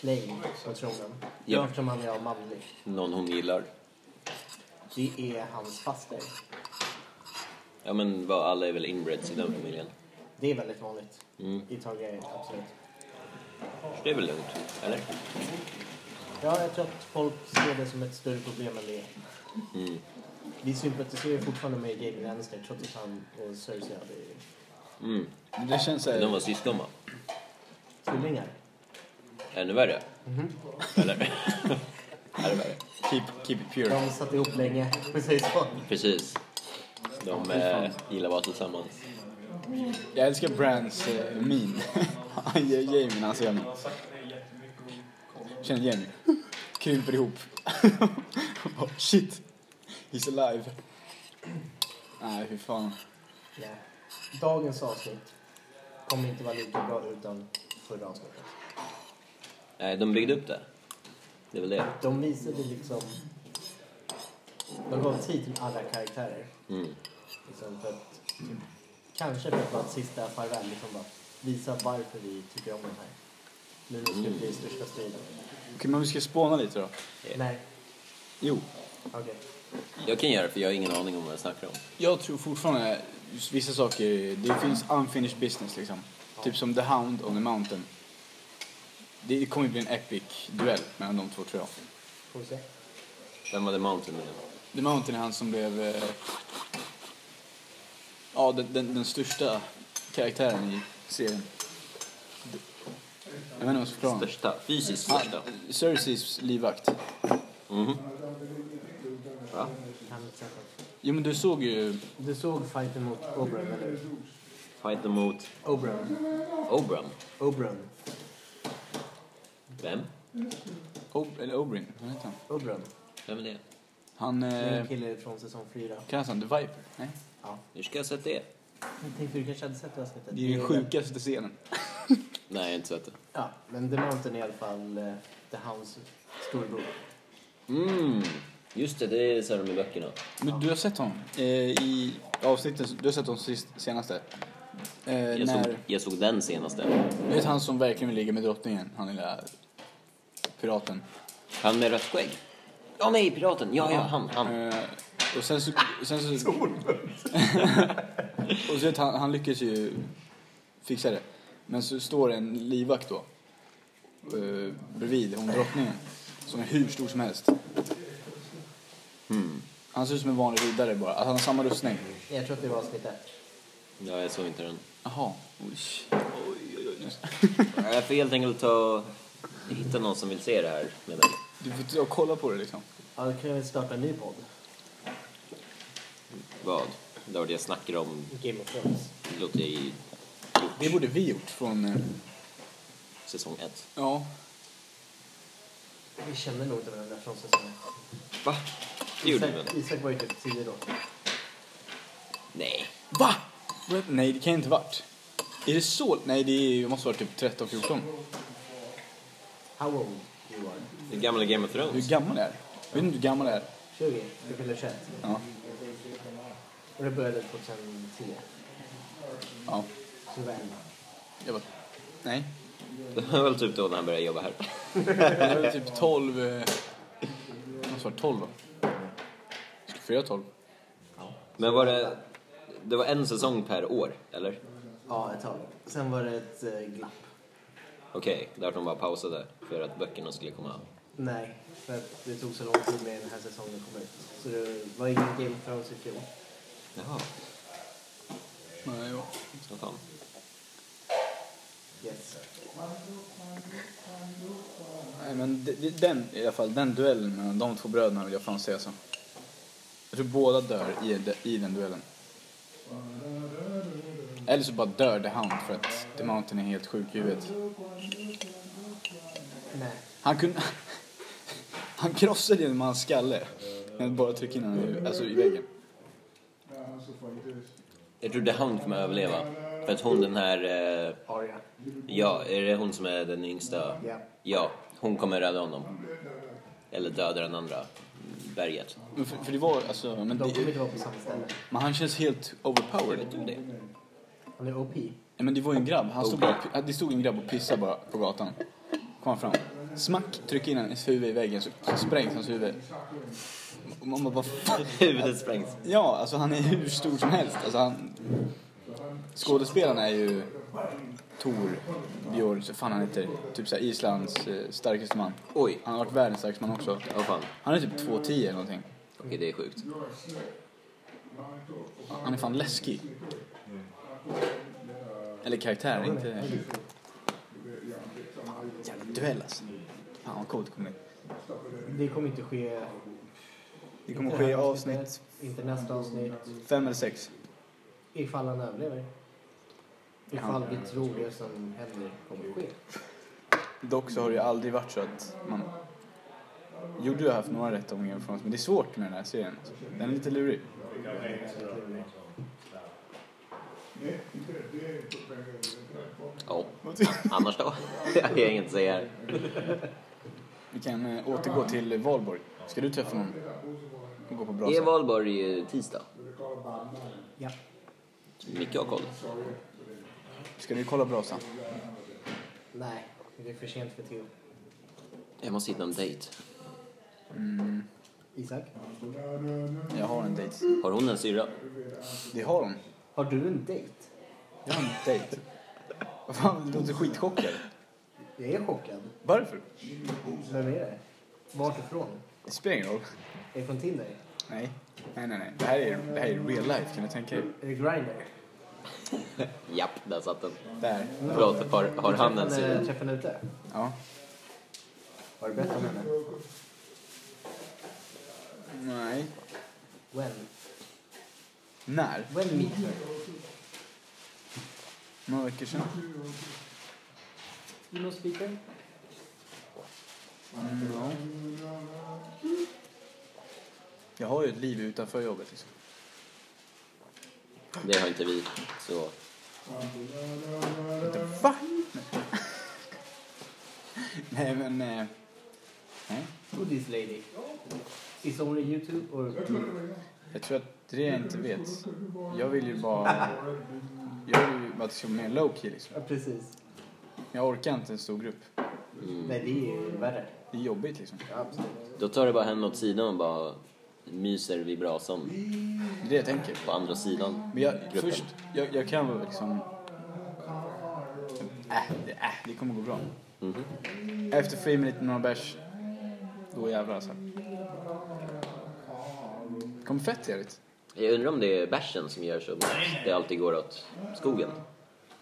[SPEAKER 4] claim på tronen.
[SPEAKER 1] Ja.
[SPEAKER 4] Eftersom han är manlig.
[SPEAKER 1] Någon hon gillar.
[SPEAKER 4] Det är hans faster.
[SPEAKER 1] Ja men vad, alla är väl inbreds i den familjen.
[SPEAKER 4] Det är väldigt vanligt
[SPEAKER 1] Mm.
[SPEAKER 4] i Targaryen, absolut.
[SPEAKER 1] Så det är väl lugnt, eller?
[SPEAKER 4] Ja, jag tror att folk ser det som ett större problem än det är.
[SPEAKER 1] Mm.
[SPEAKER 4] Vi sympatiserar fortfarande med Jamie Lannister trots att han och Cersei hade
[SPEAKER 1] Mm.
[SPEAKER 2] Men Det känns
[SPEAKER 1] De var
[SPEAKER 2] såhär...
[SPEAKER 1] syskon va?
[SPEAKER 4] tvillingar.
[SPEAKER 1] Ännu värre? Eller?
[SPEAKER 2] Ja, det var det. Keep, typ keep it pure.
[SPEAKER 4] De satt ihop länge, precis så.
[SPEAKER 1] Precis. De eh, gillar att vara tillsammans.
[SPEAKER 2] Jag älskar Brands eh, min. Han gör Jamie när han ser mig.
[SPEAKER 5] har sagt nej jättemycket och kollat.
[SPEAKER 2] Känner Jamie. Krymper ihop. Bara, Shit! He's alive. Nej, fy fan.
[SPEAKER 4] Nej. Dagens avsnitt kommer inte vara lika bra utan förra avsnittet.
[SPEAKER 1] Nej, de byggde upp det. Det är väl det.
[SPEAKER 4] De visade liksom De gav tid till alla karaktärer.
[SPEAKER 1] Mm.
[SPEAKER 4] Liksom för att, kanske för att vara ett sista farväl. Liksom bara visa varför vi tycker om den här. Nu ska det bli största striden.
[SPEAKER 2] Okej, men vi ska spåna lite då.
[SPEAKER 4] Eh, Nej,
[SPEAKER 2] Jo.
[SPEAKER 4] okej.
[SPEAKER 1] Jag kan göra det för jag har ingen aning om vad jag snackar om.
[SPEAKER 2] Jag tror fortfarande just vissa saker, det finns unfinished business liksom. Typ som The Hound on the Mountain. Det kommer ju bli en epic duell mellan de två tror jag.
[SPEAKER 4] Får vi se.
[SPEAKER 1] Vem var The Mountain med?
[SPEAKER 2] The Mountain är han som blev... Eh, ja, den, den, den största karaktären i serien. Jag vet inte vad jag ska förklara. honom.
[SPEAKER 1] Största? Fysiskt
[SPEAKER 2] Ah,
[SPEAKER 1] största?
[SPEAKER 2] Cerseis livvakt.
[SPEAKER 1] Mhm. Va?
[SPEAKER 4] Han är säker.
[SPEAKER 2] Jo men du såg ju...
[SPEAKER 4] Du såg fighten mot Oberon, eller hur?
[SPEAKER 1] Fighten mot
[SPEAKER 4] Oberon.
[SPEAKER 1] Oberon?
[SPEAKER 4] Oberon.
[SPEAKER 1] Vem?
[SPEAKER 2] Ob- eller Oberyn, vad heter han?
[SPEAKER 4] Oberon.
[SPEAKER 1] Vem är det?
[SPEAKER 2] Han...
[SPEAKER 4] Det är en
[SPEAKER 2] Eh,
[SPEAKER 4] kille från säsong fyra.
[SPEAKER 2] kallas han The Viper? Nej?
[SPEAKER 4] Ja.
[SPEAKER 1] Hur ska jag ha sett det?
[SPEAKER 4] Jag tänkte du kanske hade sett det avsnittet.
[SPEAKER 2] Det är ju den sjukaste scenen.
[SPEAKER 1] Nej, jag har inte sett det.
[SPEAKER 4] Ja, men The Mountain är i alla fall eh, The Hounds storbror.
[SPEAKER 1] Mm. Just det, det är så här de i böckerna.
[SPEAKER 2] Men du har sett honom eh, i avsnitten, du har sett honom sist, senaste. Eh,
[SPEAKER 1] Jag
[SPEAKER 2] när,
[SPEAKER 1] såg, jag såg den senaste.
[SPEAKER 2] vet han som verkligen vill ligga med drottningen, han lilla piraten.
[SPEAKER 1] Han med rött skägg? Ja, nej, piraten! Ja, ja, han, han.
[SPEAKER 2] Eh, och sen så... Sen så och så vet han, han lyckas ju fixa det. Men så står det en livvakt då eh, bredvid hon drottningen som är hur stor som helst. Han ser ut som en vanlig riddare bara. Alltså, han har samma rustning.
[SPEAKER 4] Jag tror att det var avsnitt ett.
[SPEAKER 1] Ja, jag såg inte den.
[SPEAKER 2] Jaha.
[SPEAKER 1] Jag får helt enkelt ta hitta någon som vill se det här med mig.
[SPEAKER 2] Du får ta och kolla på det liksom.
[SPEAKER 4] Ja, då kan vi starta en ny podd.
[SPEAKER 1] Vad? Det var det jag snackade om.
[SPEAKER 4] Game of Thrones.
[SPEAKER 1] Det låter i
[SPEAKER 2] Det borde vi gjort från... eh,
[SPEAKER 1] säsong ett.
[SPEAKER 2] Ja.
[SPEAKER 4] Vi känner nog inte varandra från säsong ett.
[SPEAKER 1] Va? Det gjorde du väl?
[SPEAKER 4] Isak, Isak var ju typ tio då.
[SPEAKER 1] Nej.
[SPEAKER 2] Va? Nej, det kan inte varit. Är det så? Nej, det är- det måste vara typ 13, 14.
[SPEAKER 4] How old you are?
[SPEAKER 1] Det gamla Game of
[SPEAKER 2] Hur
[SPEAKER 1] Thrones.
[SPEAKER 2] gammal är du? Vet inte hur gammal är?
[SPEAKER 4] 20? Du fyller 21.
[SPEAKER 2] Ja.
[SPEAKER 4] Och det började 2010.
[SPEAKER 2] Ja.
[SPEAKER 4] Så du var elva.
[SPEAKER 2] Jag bara... Nej.
[SPEAKER 1] Det var väl typ då när han började jobba här.
[SPEAKER 2] Jag var typ 12... eh, Jag måste vara 12 då. Skulle fylla 12.
[SPEAKER 1] Men var det... Det var en säsong per år, eller?
[SPEAKER 4] Ja, ett tag. Sen var det ett eh, glapp.
[SPEAKER 1] Okej, där de bara pausade för att böckerna skulle komma.
[SPEAKER 4] Nej, för att det tog så lång tid med den här säsongen kom ut. Så det var ingen Game of Thrones i fjol.
[SPEAKER 1] Jaha,
[SPEAKER 2] Nej, ja.
[SPEAKER 1] vad fan.
[SPEAKER 4] Yes.
[SPEAKER 2] Nej, men det- det- den i alla fall, den duellen mellan de två bröderna vill jag fan se alltså. Jag tror båda dör i, i den duellen. Eller så bara dör The Hound för att The Mountain är helt sjuk i huvudet.
[SPEAKER 4] Nej.
[SPEAKER 2] Han kunde... Han krossade ju en mans skalle. Men bara tryckte in honom i, huvudet, alltså, i väggen.
[SPEAKER 1] Jag tror det är han kommer överleva. För att hon den här... Eh,
[SPEAKER 4] Arya.
[SPEAKER 1] ja, är det hon som är den yngsta?
[SPEAKER 4] Ja.
[SPEAKER 1] Ja, hon kommer rädda honom. Eller döda den andra. Berget.
[SPEAKER 2] Men för, för det var alltså... Men,
[SPEAKER 4] De kommer
[SPEAKER 2] det,
[SPEAKER 4] inte vara på samma ställe.
[SPEAKER 2] men han känns helt overpowered.
[SPEAKER 1] Vet du det?
[SPEAKER 4] Han är OP.
[SPEAKER 2] Nej, men det var ju en grabb. Han stod bara, det stod en grabb och pissade bara på gatan. Kom han fram. Smack, tryck in hans huvud i väggen så sprängs hans huvud. Och man bara, vad fan?
[SPEAKER 1] Huvudet sprängs.
[SPEAKER 2] Ja, alltså han är hur stor som helst. Alltså han... Skådespelaren är ju Tor Björn, så fan han heter, typ såhär Islands eh, starkaste man.
[SPEAKER 1] Oj,
[SPEAKER 2] Han har varit världens starkaste man också.
[SPEAKER 1] vad fan.
[SPEAKER 2] Han är typ 2,10 eller någonting.
[SPEAKER 1] Okej, det är sjukt.
[SPEAKER 2] Han är fan läskig. Eller karaktär, inte... Jävla duell alltså. Fan vad coolt det kommer bli.
[SPEAKER 4] Det kommer inte ske...
[SPEAKER 2] Det kommer ske i avsnitt
[SPEAKER 4] Inte nästa avsnitt.
[SPEAKER 2] fem eller sex.
[SPEAKER 4] Ifall han överlever. Ifall vi tror det som händer kommer ske.
[SPEAKER 2] Dock så har det ju aldrig varit så att man... Jo, du har haft några rätt omgångar från oss, men det är svårt med den här serien. alltså. Den är lite lurig.
[SPEAKER 1] Ja, annars då? Jag kan inget säga här.
[SPEAKER 2] Vi kan eh, återgå till Valborg. Ska du träffa någon? går på bra
[SPEAKER 1] Det är
[SPEAKER 2] sätt.
[SPEAKER 1] valborg eh, tisdag.
[SPEAKER 4] Ja.
[SPEAKER 1] Mycket har koll.
[SPEAKER 2] Ska ni kolla brasan?
[SPEAKER 4] Nej, det är för sent för Theo.
[SPEAKER 1] Jag måste hitta en dejt.
[SPEAKER 4] Isak,
[SPEAKER 2] Jag har en dejt.
[SPEAKER 1] Har hon en syrra?
[SPEAKER 2] Det har hon.
[SPEAKER 4] har du en dejt?
[SPEAKER 2] Jag har en dejt. Vad fan, du låter skitchockad.
[SPEAKER 4] Jag är chockad.
[SPEAKER 2] Varför?
[SPEAKER 4] Vem är det? Vart ifrån?
[SPEAKER 2] Det spelar ingen roll.
[SPEAKER 4] Är det från Tinder?
[SPEAKER 2] Nej. Nej, nej, nej. Det här är, det här är real life, kan du tänka er?
[SPEAKER 4] Är det Grindr?
[SPEAKER 1] Japp, där satt den.
[SPEAKER 2] Där.
[SPEAKER 1] Förlåt, har, har han en
[SPEAKER 4] Träffade-
[SPEAKER 1] syrra?
[SPEAKER 4] Träffade henne ute?
[SPEAKER 2] Ja.
[SPEAKER 4] Har du bett om henne?
[SPEAKER 2] Nej.
[SPEAKER 4] When?
[SPEAKER 2] När?
[SPEAKER 4] When meet her?
[SPEAKER 2] Några veckor sedan?
[SPEAKER 4] You know speaker?
[SPEAKER 2] Mm, ja. Jag har ju ett liv utanför jobbet liksom.
[SPEAKER 1] Det har inte vi. Så
[SPEAKER 2] Inte va? Nej men... eh, Nej.
[SPEAKER 4] Who this lady? Is only YouTube or...
[SPEAKER 2] Jag tror att det är jag inte vet. Jag vill ju bara... Jag vill ju bara att det ska vara mer low key liksom.
[SPEAKER 4] Ja, precis.
[SPEAKER 2] Jag orkar inte en stor grupp.
[SPEAKER 1] Mm.
[SPEAKER 4] Nej, det är ju värre.
[SPEAKER 2] Det är jobbigt liksom.
[SPEAKER 4] Ja, absolut.
[SPEAKER 1] då tar du bara henne åt sidan och bara myser vid brasan
[SPEAKER 2] Det är det jag tänker.
[SPEAKER 1] på andra sidan.
[SPEAKER 2] Men jag,
[SPEAKER 1] gruppen.
[SPEAKER 2] först, jag, jag kan vara liksom... Äh, det, äh, det kommer gå bra.
[SPEAKER 1] Mhm.
[SPEAKER 2] Efter fri med lite några bärs, då jävlar alltså. Det kommer fett jävligt.
[SPEAKER 1] Jag undrar om det är bärsen som gör så att det alltid går åt skogen.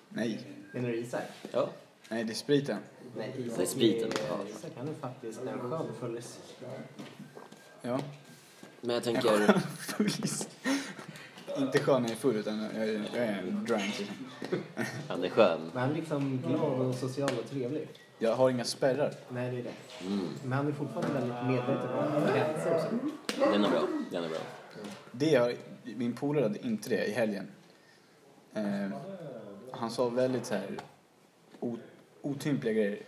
[SPEAKER 2] Nej.
[SPEAKER 4] Menar du Isak?
[SPEAKER 1] Ja.
[SPEAKER 2] Nej, det är spriten.
[SPEAKER 4] Nej, Isak
[SPEAKER 1] Det är spriten.
[SPEAKER 4] är- Isak han är faktiskt en skön fullis.
[SPEAKER 2] Ja.
[SPEAKER 1] Men jag tänker,
[SPEAKER 2] Fullis. Inte skön när jag är full, utan jag, är- jag är drunk. Liksom.
[SPEAKER 1] han är skön.
[SPEAKER 4] Men han är liksom glad och social och trevlig.
[SPEAKER 2] Jag har inga spärrar.
[SPEAKER 4] Nej, det Ah. är det.
[SPEAKER 1] Mm,
[SPEAKER 4] Men han är fortfarande väldigt medveten om gränser och så.
[SPEAKER 1] Den är bra. Den är bra.
[SPEAKER 2] Det har, min polare hade inte det i helgen. Eh, han sa väldigt så här o, otympliga grejer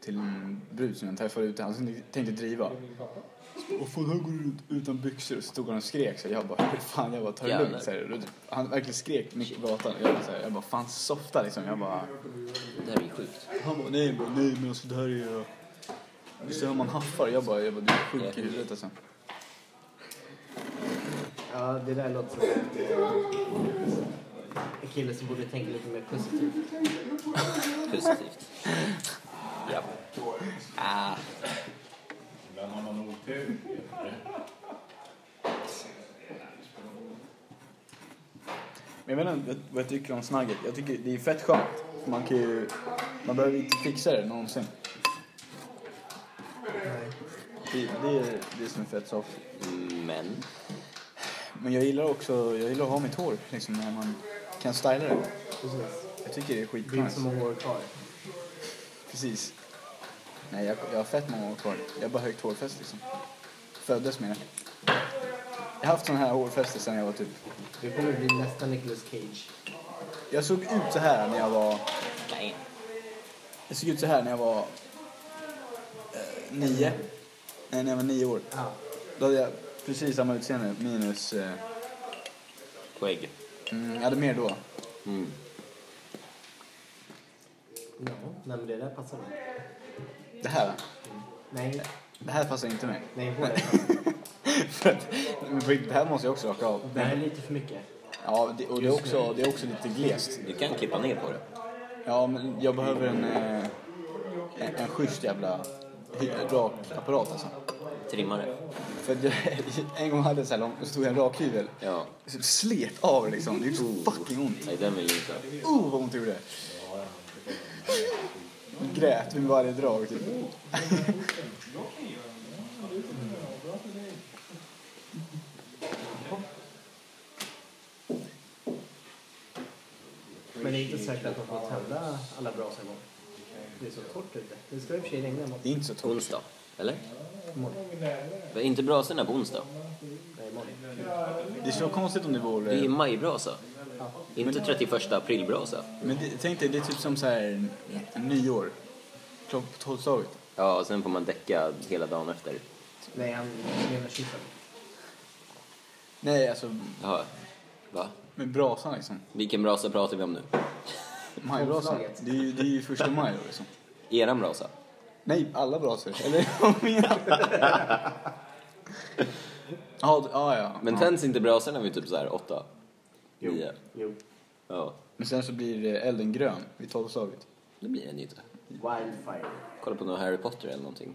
[SPEAKER 2] till en brud som jag träffade ute. Han tänkte- tänkte driva. Och fan, här går du ut utan byxor. Och så stod han och skrek. Så jag bara, hur fan, jag bara, ta det
[SPEAKER 1] Jävlar.
[SPEAKER 2] lugnt. Så här. Och då- Han verkligen skrek mitt på gatan. Jag bara, så här, jag bara, fan softa liksom. Jag bara,
[SPEAKER 1] Det här är ju sjukt.
[SPEAKER 2] han bara, nej, jag bara, nej men alltså det här är ju... Så hör man haffar. Jag bara, jag bara, du är sjuk i huvudet alltså.
[SPEAKER 4] Ja, det där låter som en kille som borde tänka lite mer positivt.
[SPEAKER 1] Positivt. Ja. Ah,
[SPEAKER 6] Ibland har man otur.
[SPEAKER 2] Men jag vet inte vad jag tycker om snagget. Jag tycker det är fett skönt. Man kan ju... Man behöver inte fixa det någonsin. Det, det är det som är fett soft.
[SPEAKER 1] men.
[SPEAKER 2] Men jag gillar också... Jag gillar att ha mitt hår liksom när man kan styla det.
[SPEAKER 4] Precis.
[SPEAKER 2] Jag tycker det är
[SPEAKER 4] Det är inte så
[SPEAKER 2] skitnice.
[SPEAKER 4] många år kvar.
[SPEAKER 2] Precis. Nej, jag, jag har fett många år kvar. Jag har bara högt hårfäste liksom. Föddes med det. Jag har haft sån här hårfäste sen jag var typ...
[SPEAKER 4] Du kommer bli nästa Nicolas Cage.
[SPEAKER 2] Jag såg ut så här när jag var...
[SPEAKER 1] Nej.
[SPEAKER 2] Jag såg ut så här när jag var eh, nio. Nej, när jag var nio år.
[SPEAKER 4] Ja.
[SPEAKER 2] Då hade jag precis samma utseende minus... Eh,
[SPEAKER 1] Skägg.
[SPEAKER 2] mm, jag hade mer då.
[SPEAKER 1] Mm.
[SPEAKER 4] Ja, nej men det där passar mig.
[SPEAKER 2] Det här,
[SPEAKER 4] Nej,
[SPEAKER 2] det här passar inte mig.
[SPEAKER 4] nej håret passar.
[SPEAKER 2] För att- men på riktigt, det här måste jag också raka av.
[SPEAKER 4] Det här är lite för mycket.
[SPEAKER 2] Ja, det, och det är, också, det är också lite glest.
[SPEAKER 1] Du kan klippa ner på det.
[SPEAKER 2] Ja, men jag behöver en, eh, en, en schysst jävla hy- rakapparat alltså.
[SPEAKER 1] Trimma det.
[SPEAKER 2] För att jag, en gång hade jag så här lång, och så tog jag en rakhyvel.
[SPEAKER 1] Ja.
[SPEAKER 2] Så slet av liksom. Det gjorde fucking ont.
[SPEAKER 1] Nej, den vill jag inte.
[SPEAKER 2] Oh, vad ont det gjorde! Grät vid varje drag, typ.
[SPEAKER 4] Men det är inte säkert att de får tända alla brasor imorgon. Det är så torrt ute. Det ska i och för sig regna imorgon.
[SPEAKER 2] Det är inte så tråkigt.
[SPEAKER 1] Onsdag. Eller?
[SPEAKER 4] Imorgon.
[SPEAKER 1] Men Inte brasorna på onsdag.
[SPEAKER 4] Nej, imorgon.
[SPEAKER 2] Det är så konstigt om det
[SPEAKER 1] Det är
[SPEAKER 2] vore...
[SPEAKER 1] majbrasa. Inte 31 aprilbrasa.
[SPEAKER 2] Men det, tänk dig, det är typ som så här nyår. Klockan på tolvslaget.
[SPEAKER 1] Ja, och sen får man däcka hela dagen efter.
[SPEAKER 4] Nej, han menar kyssen.
[SPEAKER 2] Nej, alltså
[SPEAKER 1] Jaha. Va?
[SPEAKER 2] med brasan liksom.
[SPEAKER 1] Vilken brasa pratar vi om nu?
[SPEAKER 2] Majbrasan.
[SPEAKER 4] Omslaget.
[SPEAKER 2] Det är ju, det är ju första maj då liksom.
[SPEAKER 1] Eran brasa?
[SPEAKER 2] Nej, alla brasor. Eller vad menar du? Ja, d- ja, ja.
[SPEAKER 1] Men
[SPEAKER 2] ja.
[SPEAKER 1] tänds inte brasorna vid typ så här åtta?
[SPEAKER 4] Jo.
[SPEAKER 1] Nio?
[SPEAKER 4] Jo.
[SPEAKER 1] Ja.
[SPEAKER 2] Men sen så blir eh, elden grön vid tolvslaget.
[SPEAKER 1] Det blir den ju inte.
[SPEAKER 4] Wildfire.
[SPEAKER 1] Kolla på någon Harry Potter eller någonting.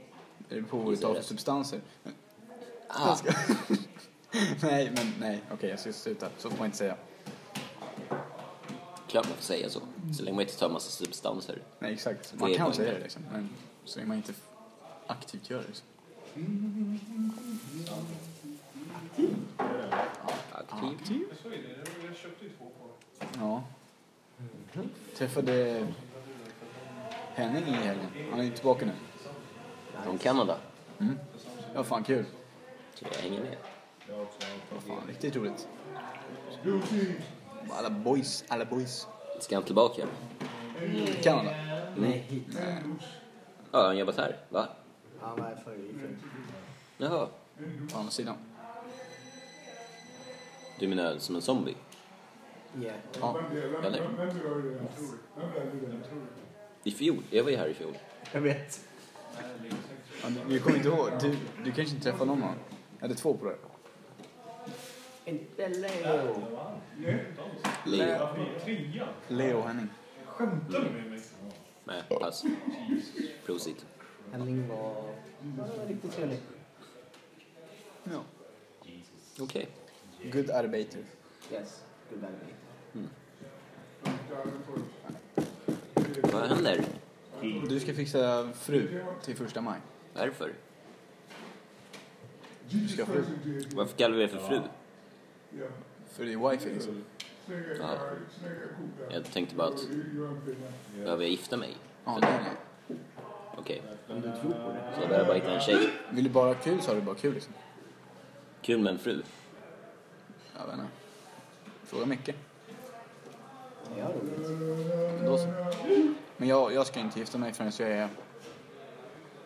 [SPEAKER 2] Är det pågår
[SPEAKER 1] Gissar
[SPEAKER 2] av
[SPEAKER 1] rätt.
[SPEAKER 2] substanser.
[SPEAKER 1] Ah,
[SPEAKER 2] nej, men nej. Okej, jag ska sluta. Så får man inte säga.
[SPEAKER 1] klart man får säga så. Så länge man inte tar massa substanser.
[SPEAKER 2] Nej, exakt.
[SPEAKER 1] Det
[SPEAKER 2] Man
[SPEAKER 1] är
[SPEAKER 2] kan
[SPEAKER 1] poängen.
[SPEAKER 2] säga det liksom. Men så länge man inte aktivt gör det liksom.
[SPEAKER 1] Aktiv.
[SPEAKER 5] Så är det. Jag köpte ju två på
[SPEAKER 2] Ja. Träffade Henning i helgen. Han är ju tillbaka nu.
[SPEAKER 1] Från Kanada.
[SPEAKER 2] Ja, fan kul.
[SPEAKER 1] Så jag hänger med.
[SPEAKER 2] Vad fan, riktigt roligt. Alla boys, alla boys.
[SPEAKER 1] Ska han tillbaka?
[SPEAKER 2] Kanada.
[SPEAKER 4] Nej, hit.
[SPEAKER 1] Ja, han jobbat här. Va?
[SPEAKER 4] Han var för i fjol.
[SPEAKER 1] Jaha.
[SPEAKER 2] På andra sidan.
[SPEAKER 1] Du menar som en zombie?
[SPEAKER 4] Yeah.
[SPEAKER 2] Ja.
[SPEAKER 1] Eller? I fjol? Jag var ju här i fjol.
[SPEAKER 4] Jag vet.
[SPEAKER 2] Ja, du, du kommer inte ihåg. Du, du kanske inte träffade någon av dem. Jag hade två på det.
[SPEAKER 4] Inte Leo.
[SPEAKER 1] Leo.
[SPEAKER 5] trean.
[SPEAKER 2] Leo och Henning.
[SPEAKER 5] Skämtar du med mig?
[SPEAKER 1] Nej, pass. Prosit.
[SPEAKER 4] Henning var han var riktigt trevlig.
[SPEAKER 2] Ja.
[SPEAKER 1] Okej.
[SPEAKER 2] Good arbiter.
[SPEAKER 4] Yes. Good baby.
[SPEAKER 1] Vad händer?
[SPEAKER 2] Du ska fixa fru till första maj.
[SPEAKER 1] Varför?
[SPEAKER 2] Du ska ha fru.
[SPEAKER 1] Varför kallar vi det för fru?
[SPEAKER 2] För det är wifi liksom.
[SPEAKER 1] Ja. Jag tänkte bara att... Behöver jag gifta mig?
[SPEAKER 2] Ja, nej, nej.
[SPEAKER 1] Okej. Så jag behöver bara hitta en tjej.
[SPEAKER 2] Vill du bara ha kul så har du bara kul liksom.
[SPEAKER 1] Kul med en fru.
[SPEAKER 2] Jag vet inte. Fråga Micke.
[SPEAKER 4] Ja, roligt.
[SPEAKER 2] Men Då så. Men jag, jag ska inte gifta mig förrän jag är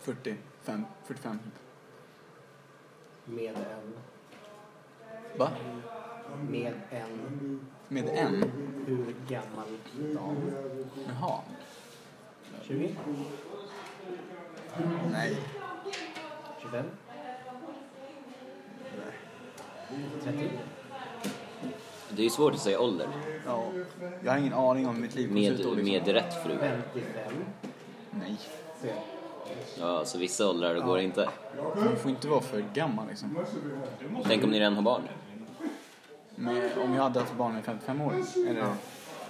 [SPEAKER 2] 45. 45.
[SPEAKER 4] Med en.
[SPEAKER 2] Va?
[SPEAKER 4] Med en.
[SPEAKER 2] Med en?
[SPEAKER 4] Hur gammal dam?
[SPEAKER 2] Jaha.
[SPEAKER 4] 20?
[SPEAKER 2] Nej.
[SPEAKER 4] 25? 30?
[SPEAKER 1] Det är ju svårt att säga ålder.
[SPEAKER 2] Ja. Jag har ingen aning om hur mitt liv kommer se ut då,
[SPEAKER 1] Med,
[SPEAKER 2] liksom.
[SPEAKER 1] med rätt fru.
[SPEAKER 4] 55?
[SPEAKER 2] Nej.
[SPEAKER 4] Se.
[SPEAKER 1] Ja, så vissa åldrar går inte.
[SPEAKER 2] Man får inte vara för gammal liksom.
[SPEAKER 1] Tänk om ni redan har barn?
[SPEAKER 2] Men om jag hade haft barn vid 55 år. Eller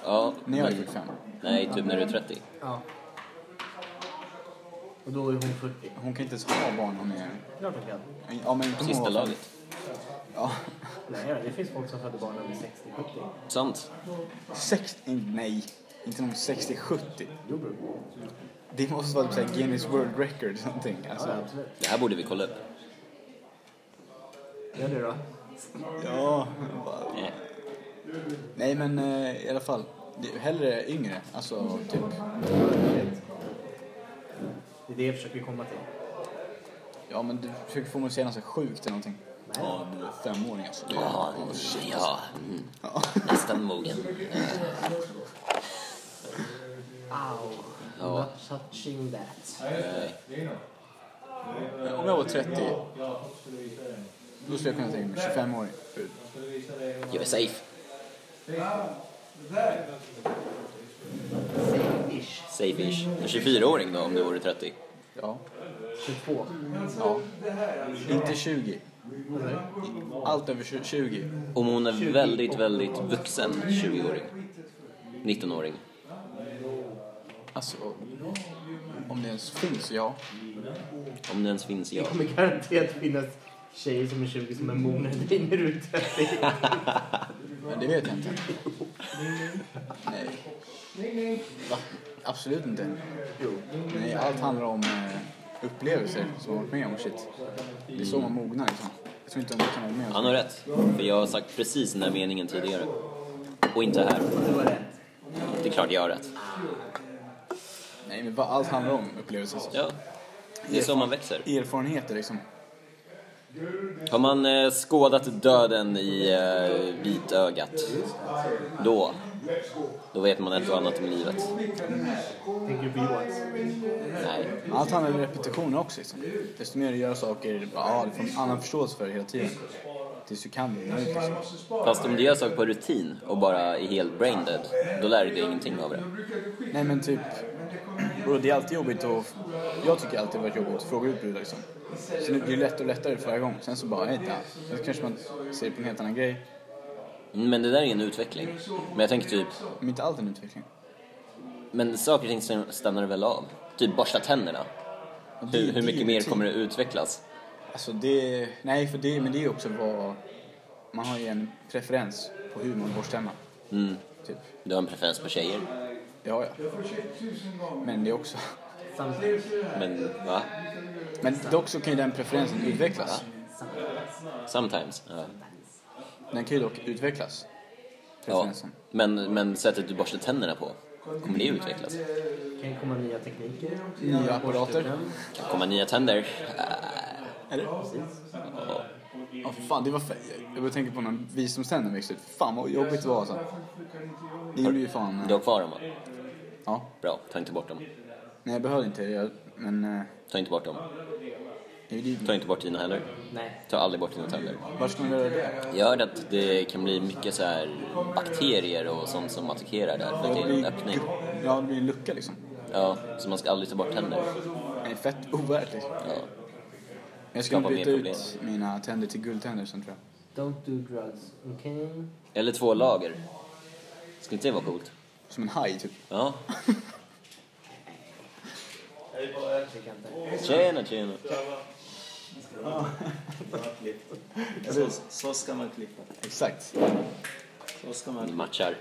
[SPEAKER 1] Ja.
[SPEAKER 2] när jag är
[SPEAKER 1] men-
[SPEAKER 2] 45.
[SPEAKER 1] Nej, typ när du är 30.
[SPEAKER 4] Ja. Och då är hon 40.
[SPEAKER 2] Hon kan inte ens ha barn om jag är...
[SPEAKER 4] Klart hon kan.
[SPEAKER 2] Ja, men inte om hon
[SPEAKER 1] Sista
[SPEAKER 2] var-
[SPEAKER 1] laget.
[SPEAKER 2] Ja.
[SPEAKER 4] Nej, ja, det finns folk som föder barn när de är 60-70.
[SPEAKER 1] Sant.
[SPEAKER 2] Sex... Nej. Inte någon 60-70.
[SPEAKER 4] Jo, bror.
[SPEAKER 2] Det måste vara typ såhär Guinness World Record eller någonting.
[SPEAKER 4] Ja,
[SPEAKER 2] Alltså.
[SPEAKER 4] ja, absolut.
[SPEAKER 1] Det här borde vi kolla upp.
[SPEAKER 4] Gör det då.
[SPEAKER 2] Ja.
[SPEAKER 1] Nej.
[SPEAKER 2] Nej men eh, i alla fall. Det- Hellre yngre. Alltså typ.
[SPEAKER 4] Det är det jag försöker komma till.
[SPEAKER 2] Ja men du försöker få mig att säga något så här sjukt eller någonting. Ja, du är femåring alltså. Det är-
[SPEAKER 1] Ja,
[SPEAKER 2] Åh, shit.
[SPEAKER 1] ja. Mm. Nästan mogen.
[SPEAKER 4] Ow.
[SPEAKER 1] Ja.
[SPEAKER 4] Not touching that.
[SPEAKER 2] Men Om jag var 30. Då skulle jag kunna tänka mig 25-åring. För
[SPEAKER 1] Jag är safe.
[SPEAKER 4] Safe-ish.
[SPEAKER 1] Safe-ish. En 24-åring då, om du vore 30.
[SPEAKER 2] Ja.
[SPEAKER 4] 22.
[SPEAKER 2] ja. Inte 20. Allt över tju- 20.
[SPEAKER 1] Om hon är väldigt, väldigt vuxen 20-åring. 19-åring.
[SPEAKER 2] Alltså. Om det ens finns, ja.
[SPEAKER 1] Om det ens finns
[SPEAKER 4] Det
[SPEAKER 1] jag.
[SPEAKER 4] kommer garanterat finnas tjejer som är 20 som är mogna än dig när du är 30.
[SPEAKER 2] Men det vet jag inte. Nej. Va? Absolut inte. Nej, allt handlar om eh, upplevelser som man varit med om. och Shit. Det är så man mognar liksom. Jag tror inte man kan vara med om
[SPEAKER 1] Han har rätt. För jag har sagt precis den här meningen tidigare. Och inte här.
[SPEAKER 4] Du var rätt.
[SPEAKER 1] Det är klart jag har rätt.
[SPEAKER 2] Nej, men vad allt handlar om upplevelser.
[SPEAKER 1] Ja. Det är så man växer.
[SPEAKER 2] Erfarenheter liksom.
[SPEAKER 1] Har man eh, skådat döden i eh, vitögat, då, då vet man ett och annat om livet.
[SPEAKER 4] Tänker du på Johans?
[SPEAKER 1] Nej.
[SPEAKER 2] Allt handlar om repetitioner också. Liksom. Desto mer du gör saker, ja, du får en annan förståelse för det hela tiden. Tills du kan det. Liksom.
[SPEAKER 1] Fast om du gör saker på rutin och bara är helt brain dead, då lär du dig ingenting av det.
[SPEAKER 2] Nej men typ, bro, det är alltid jobbigt och jag tycker alltid det varit jobbigt att fråga ut brudar liksom. Så nu blir det lättare och lättare för varje gång. Sen så bara, hej då. Sen kanske man ser det på en helt annan grej.
[SPEAKER 1] Men det där är en utveckling. Men jag tänker typ,
[SPEAKER 2] Men inte allt är en utveckling.
[SPEAKER 1] men saker och ting stann- stannar väl av? Typ borsta tänderna. Hur, hur mycket mer kommer det utvecklas?
[SPEAKER 2] typ- Alltså det, nej för det, men det är ju också vad, man har ju en preferens på hur man borstar hemma.
[SPEAKER 1] Mm.
[SPEAKER 2] Typ,
[SPEAKER 1] Du har en preferens på tjejer.
[SPEAKER 2] ja ja. Men det är också,
[SPEAKER 4] Samtidigt.
[SPEAKER 1] Men, va?
[SPEAKER 2] men dock så kan ju den preferensen utvecklas.
[SPEAKER 1] Sometimes. Ja.
[SPEAKER 2] Den kan ju dock utvecklas.
[SPEAKER 1] ja.
[SPEAKER 2] Preferensen.
[SPEAKER 1] Men, men sättet du borstar tänderna på, kommer det utvecklas?
[SPEAKER 4] Kan komma nya tekniker.
[SPEAKER 2] Nya apparater.
[SPEAKER 4] Borstbrännare.
[SPEAKER 1] Kan komma nya tänder?
[SPEAKER 2] Eller? Ja, för fan, det var fe- Jag började tänka på när visdomständerna växte ut. Fan vad jobbigt det var alltså. Det gjorde ju fan... eh,
[SPEAKER 1] Du har kvar dem va?
[SPEAKER 2] Ja.
[SPEAKER 1] Bra, ta inte bort dem.
[SPEAKER 2] Nej, jag behövde inte jag, Men... eh,
[SPEAKER 1] Ta inte bort dem.
[SPEAKER 2] Det är ju
[SPEAKER 1] Ta
[SPEAKER 2] det.
[SPEAKER 1] inte bort dina heller.
[SPEAKER 4] Nej.
[SPEAKER 1] Ta aldrig bort dina tänder.
[SPEAKER 2] Var ska man göra det?
[SPEAKER 1] Jag hörde att det kan bli mycket så här bakterier och sånt som attackerar där för att det är en öppning.
[SPEAKER 2] gu- Ja, det blir en lucka liksom.
[SPEAKER 1] Ja, så man ska aldrig ta bort tänder.
[SPEAKER 2] Det är fett ovärt liksom.
[SPEAKER 1] Ja.
[SPEAKER 2] Jag skulle
[SPEAKER 1] Skapar
[SPEAKER 2] byta
[SPEAKER 1] mer
[SPEAKER 2] ut mina tänder till guldtänder sen tror jag.
[SPEAKER 4] Don't do drugs, okay?
[SPEAKER 1] Eller två lager. Skulle inte det vara coolt?
[SPEAKER 2] Som en haj typ.
[SPEAKER 1] Ja.
[SPEAKER 4] Det kan inte.
[SPEAKER 1] Tjena, tjena.
[SPEAKER 7] Så, så ska man klippa.
[SPEAKER 2] Exakt.
[SPEAKER 7] Så ska
[SPEAKER 1] Ni
[SPEAKER 7] man.
[SPEAKER 1] matchar.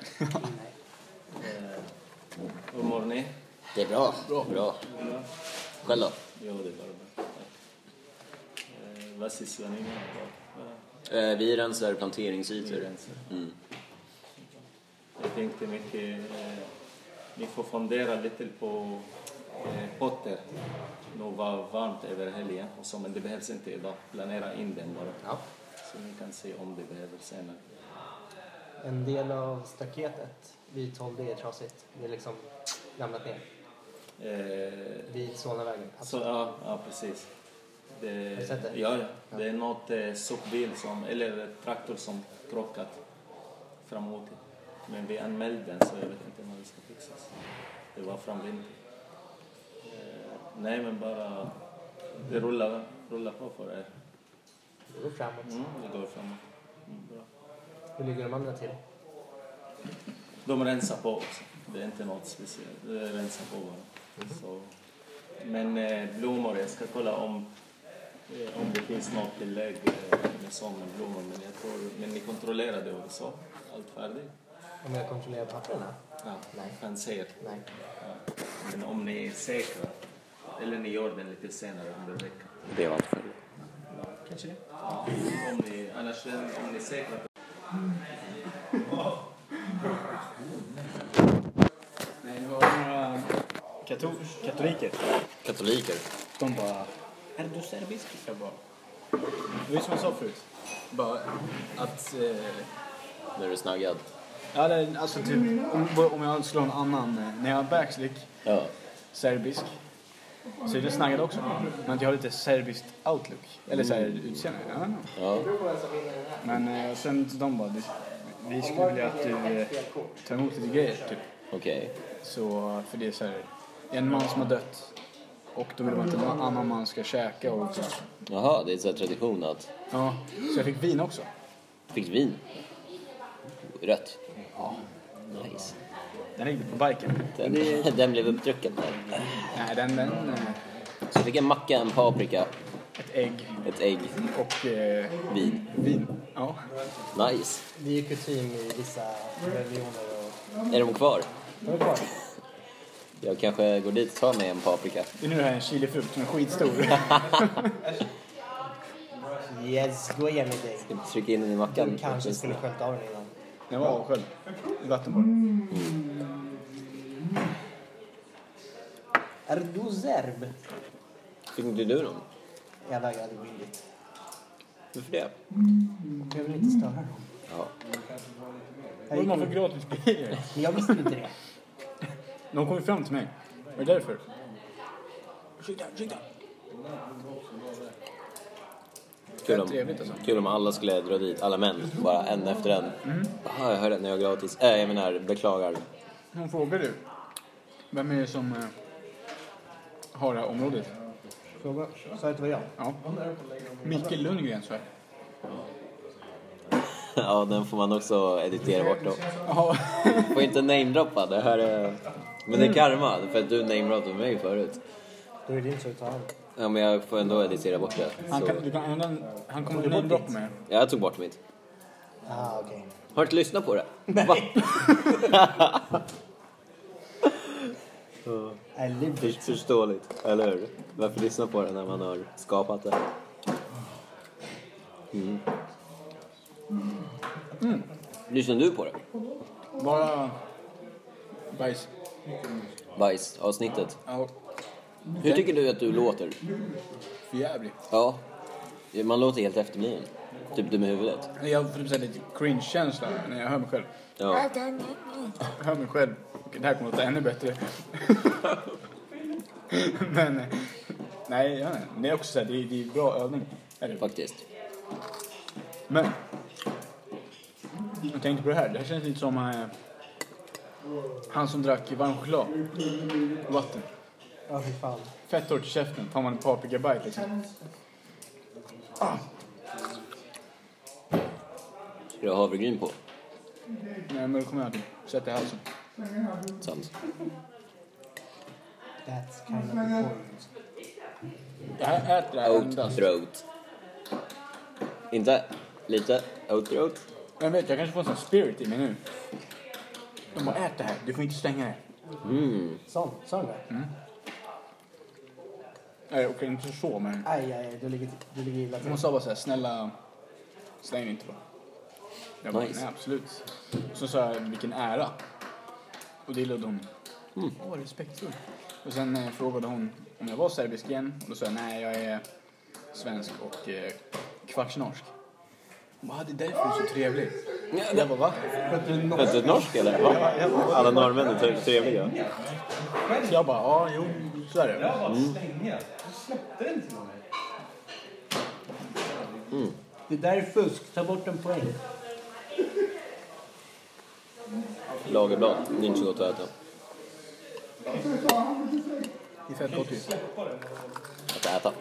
[SPEAKER 7] Hur mår ni?
[SPEAKER 1] Det är bra. Bra. Själv då?
[SPEAKER 7] Jo, det är bara bra. Eh, Vad sysslar ni med? Vad- vad-
[SPEAKER 1] Eh, Vi rensar planteringsytor.
[SPEAKER 7] gränser?
[SPEAKER 1] Mm.
[SPEAKER 7] Jag tänkte mycket... Eh, ni får fundera lite på eh, potter. Nu var varmt över helgen, och så, men det behövs inte idag. Planera in den bara.
[SPEAKER 4] Ja.
[SPEAKER 7] Så ni kan se om det behövs senare.
[SPEAKER 4] En del av staketet vid 12 det är trasigt. Det är liksom ramlat ner.
[SPEAKER 7] Eh,
[SPEAKER 4] Vid Solnavägen. Alltså,
[SPEAKER 7] Så, Alltså, ja, ja, precis. Det,
[SPEAKER 4] du sett det?
[SPEAKER 7] Ja, ja. Det är något eh, sopbil som, eller traktor som krockat framåt. Men vi anmälde den så jag vet inte när det ska fixas. Det var framvinter. Eh, nej, men bara det rullar, rullar på för er.
[SPEAKER 4] Det går framåt.
[SPEAKER 7] Mm, det går framåt. Mm, bra.
[SPEAKER 4] Hur ligger de andra till?
[SPEAKER 7] De rensar på också. Det är inte något speciellt. De rensar på bara. Så. Men eh, blommor, jag ska kolla om, eh, om det finns något tillägg eh, med sommarblommor. Men, jag tror, men ni kontrollerar det också? Allt färdigt?
[SPEAKER 4] Om jag kontrollerar papperna?
[SPEAKER 7] Ja,
[SPEAKER 4] Nej.
[SPEAKER 7] han ser.
[SPEAKER 4] Nej.
[SPEAKER 7] Ja. Men om ni är säkra, eller ni gör den lite senare under veckan.
[SPEAKER 1] Det var allt själv.
[SPEAKER 4] Kanske det.
[SPEAKER 7] Om ni, annars, om ni är säkra
[SPEAKER 2] Nej, det var några katoliker.
[SPEAKER 1] Katoliker.
[SPEAKER 2] De bara... Är du serbisk? Jag bara... Det var ju som jag sa förut. Bara att... Eh,
[SPEAKER 1] När du är snaggad.
[SPEAKER 2] Ja, det, alltså typ om, om jag skulle ha en annan, eh, när jag har backslick,
[SPEAKER 1] Ja.
[SPEAKER 2] serbisk, så är det snaggad också. Men att jag har lite serbiskt outlook, eller så här utseende. I don't know.
[SPEAKER 1] Ja.
[SPEAKER 2] Men eh, sen så de bara, "Du- vi skulle vilja att du eh, tar emot lite grejer typ.
[SPEAKER 1] Okej.
[SPEAKER 2] Så, för det är så här, det är en man som har dött och då vill man att en annan man ska käka och så.
[SPEAKER 1] Jaha, det är så här tradition att...
[SPEAKER 2] Ja, så jag fick vin också.
[SPEAKER 1] Fick du vin? Rött. Nice.
[SPEAKER 2] Den ligger på biken.
[SPEAKER 1] Den, den blev uppdrucken där.
[SPEAKER 2] Nej, den, den, eh,
[SPEAKER 1] Så jag fick en macka, en paprika,
[SPEAKER 2] ett ägg
[SPEAKER 1] ett ägg,
[SPEAKER 2] och eh,
[SPEAKER 1] vin.
[SPEAKER 2] vin. Ja.
[SPEAKER 1] Nice.
[SPEAKER 4] Det är ju kutym i vissa religioner och...
[SPEAKER 1] Är de kvar?
[SPEAKER 4] De är kvar.
[SPEAKER 1] Jag kanske går dit och tar mig en paprika.
[SPEAKER 2] Det är nu det här är en chilifrukt som är skitstor.
[SPEAKER 4] Yes, gå igen med dig.
[SPEAKER 1] Jag trycker in den i mackan.
[SPEAKER 4] Du kanske skulle skämta av den innan.
[SPEAKER 2] Den var avsköljd. I vattenborg.
[SPEAKER 4] Är du serb?
[SPEAKER 1] Fick inte du någon?
[SPEAKER 4] Jag vägrade gå in dit.
[SPEAKER 1] Varför det?
[SPEAKER 4] Jag vill inte störa dem.
[SPEAKER 1] Ja.
[SPEAKER 4] Jag, gick
[SPEAKER 2] man får
[SPEAKER 4] in,
[SPEAKER 2] gratis grejer.
[SPEAKER 4] jag visste inte det.
[SPEAKER 2] De kom ju fram till mig. Var det därför? Ursäkta, ursäkta.
[SPEAKER 1] Kul om,
[SPEAKER 2] Trevligt alltså.
[SPEAKER 1] kul om alla skulle dra dit, alla män, bara en efter en.
[SPEAKER 4] Mm.
[SPEAKER 1] Jaha, jag hörde att ni har gratis. Äh, jag menar, beklagar.
[SPEAKER 2] Hon frågade ju. Vem är det som eh, har det här området?
[SPEAKER 4] Fråga. Sa jag att det var jag?
[SPEAKER 2] Ja. Micke Lundgren så här.
[SPEAKER 1] ja, den får man också editera bort då.
[SPEAKER 2] Ja.
[SPEAKER 1] Får inte namedroppa, det här är... Men det
[SPEAKER 4] Mm.
[SPEAKER 1] är karma, för att du namedroppade mig förut.
[SPEAKER 4] Då är det inte så att ta hand.
[SPEAKER 1] Ja, men jag får ändå editera bort det.
[SPEAKER 2] Han,
[SPEAKER 1] Så.
[SPEAKER 2] kan, du kan, ändra- han kommer att namedroppa mig.
[SPEAKER 1] Jag tog bort mitt.
[SPEAKER 4] Ah, okej.
[SPEAKER 1] Har du inte lyssnat på det? Va?
[SPEAKER 4] I live
[SPEAKER 1] Först- Förståeligt, eller hur? Varför lyssna på det när man har skapat det? Mm. Lyssnar du på det?
[SPEAKER 2] Bara bajs.
[SPEAKER 1] Bajs-avsnittet.
[SPEAKER 2] Ja,
[SPEAKER 1] Hur tycker du att du låter?
[SPEAKER 2] för jävligt.
[SPEAKER 1] Ja. Man låter helt efterbliven. Typ dum i huvudet.
[SPEAKER 2] Jag får typ så här lite cringe-känsla när jag hör mig själv.
[SPEAKER 1] Ja.
[SPEAKER 2] Jag hör mig själv. Okej, det här kommer att låta ännu bättre. Men eh, nej, jag vet inte. det är också så här, det är, det är bra övning. Är det.
[SPEAKER 1] Faktiskt.
[SPEAKER 2] Men jag tänkte på det här. Det här känns lite som eh, han som drack varm choklad och vatten.
[SPEAKER 4] Ja, fy fan.
[SPEAKER 2] Fett torrt i käften. Tar man en paprikabite liksom.
[SPEAKER 1] Ska du ha havregryn på?
[SPEAKER 2] Nej, men då kommer jag att sätta i halsen.
[SPEAKER 1] Sant.
[SPEAKER 4] That's kind of the point.
[SPEAKER 2] Jag här äter det här
[SPEAKER 1] Oat
[SPEAKER 2] endast.
[SPEAKER 1] throat. Inte? Lite? Oat throat?
[SPEAKER 2] Jag vet, jag kanske får en sån spirit i mig nu. De bara, ät det här. Du får inte slänga det.
[SPEAKER 1] Mm.
[SPEAKER 4] Sån, sån där.
[SPEAKER 2] Nej, okej, inte så men.
[SPEAKER 4] Aj, aj, aj. Du ligger, du ligger illa till.
[SPEAKER 2] Hon sa bara såhär, snälla släng det inte bara. Jag bara,
[SPEAKER 1] Nice.
[SPEAKER 2] nej absolut. Så sa jag, vilken ära. Och det gillade hon. Åh, respektfull. Och sen eh, frågade hon om jag var serbisk igen. Och då sa jag, nej jag är svensk och eh, kvartsnorsk. Hon bara, "Ah, det är därför du är så trevlig. Jag bara, va?
[SPEAKER 1] Föddes du norsk eller? Ja. Alla norrmän är tre- trevliga.
[SPEAKER 2] Jag bara, ja jo, så är det.
[SPEAKER 5] bara slänga. Du släppte den till mig.
[SPEAKER 4] Det där är fusk. Ta bort en poäng.
[SPEAKER 1] Lagerblad, det är inte så gott att äta.
[SPEAKER 2] Det är fett gott ju.
[SPEAKER 1] Att äta.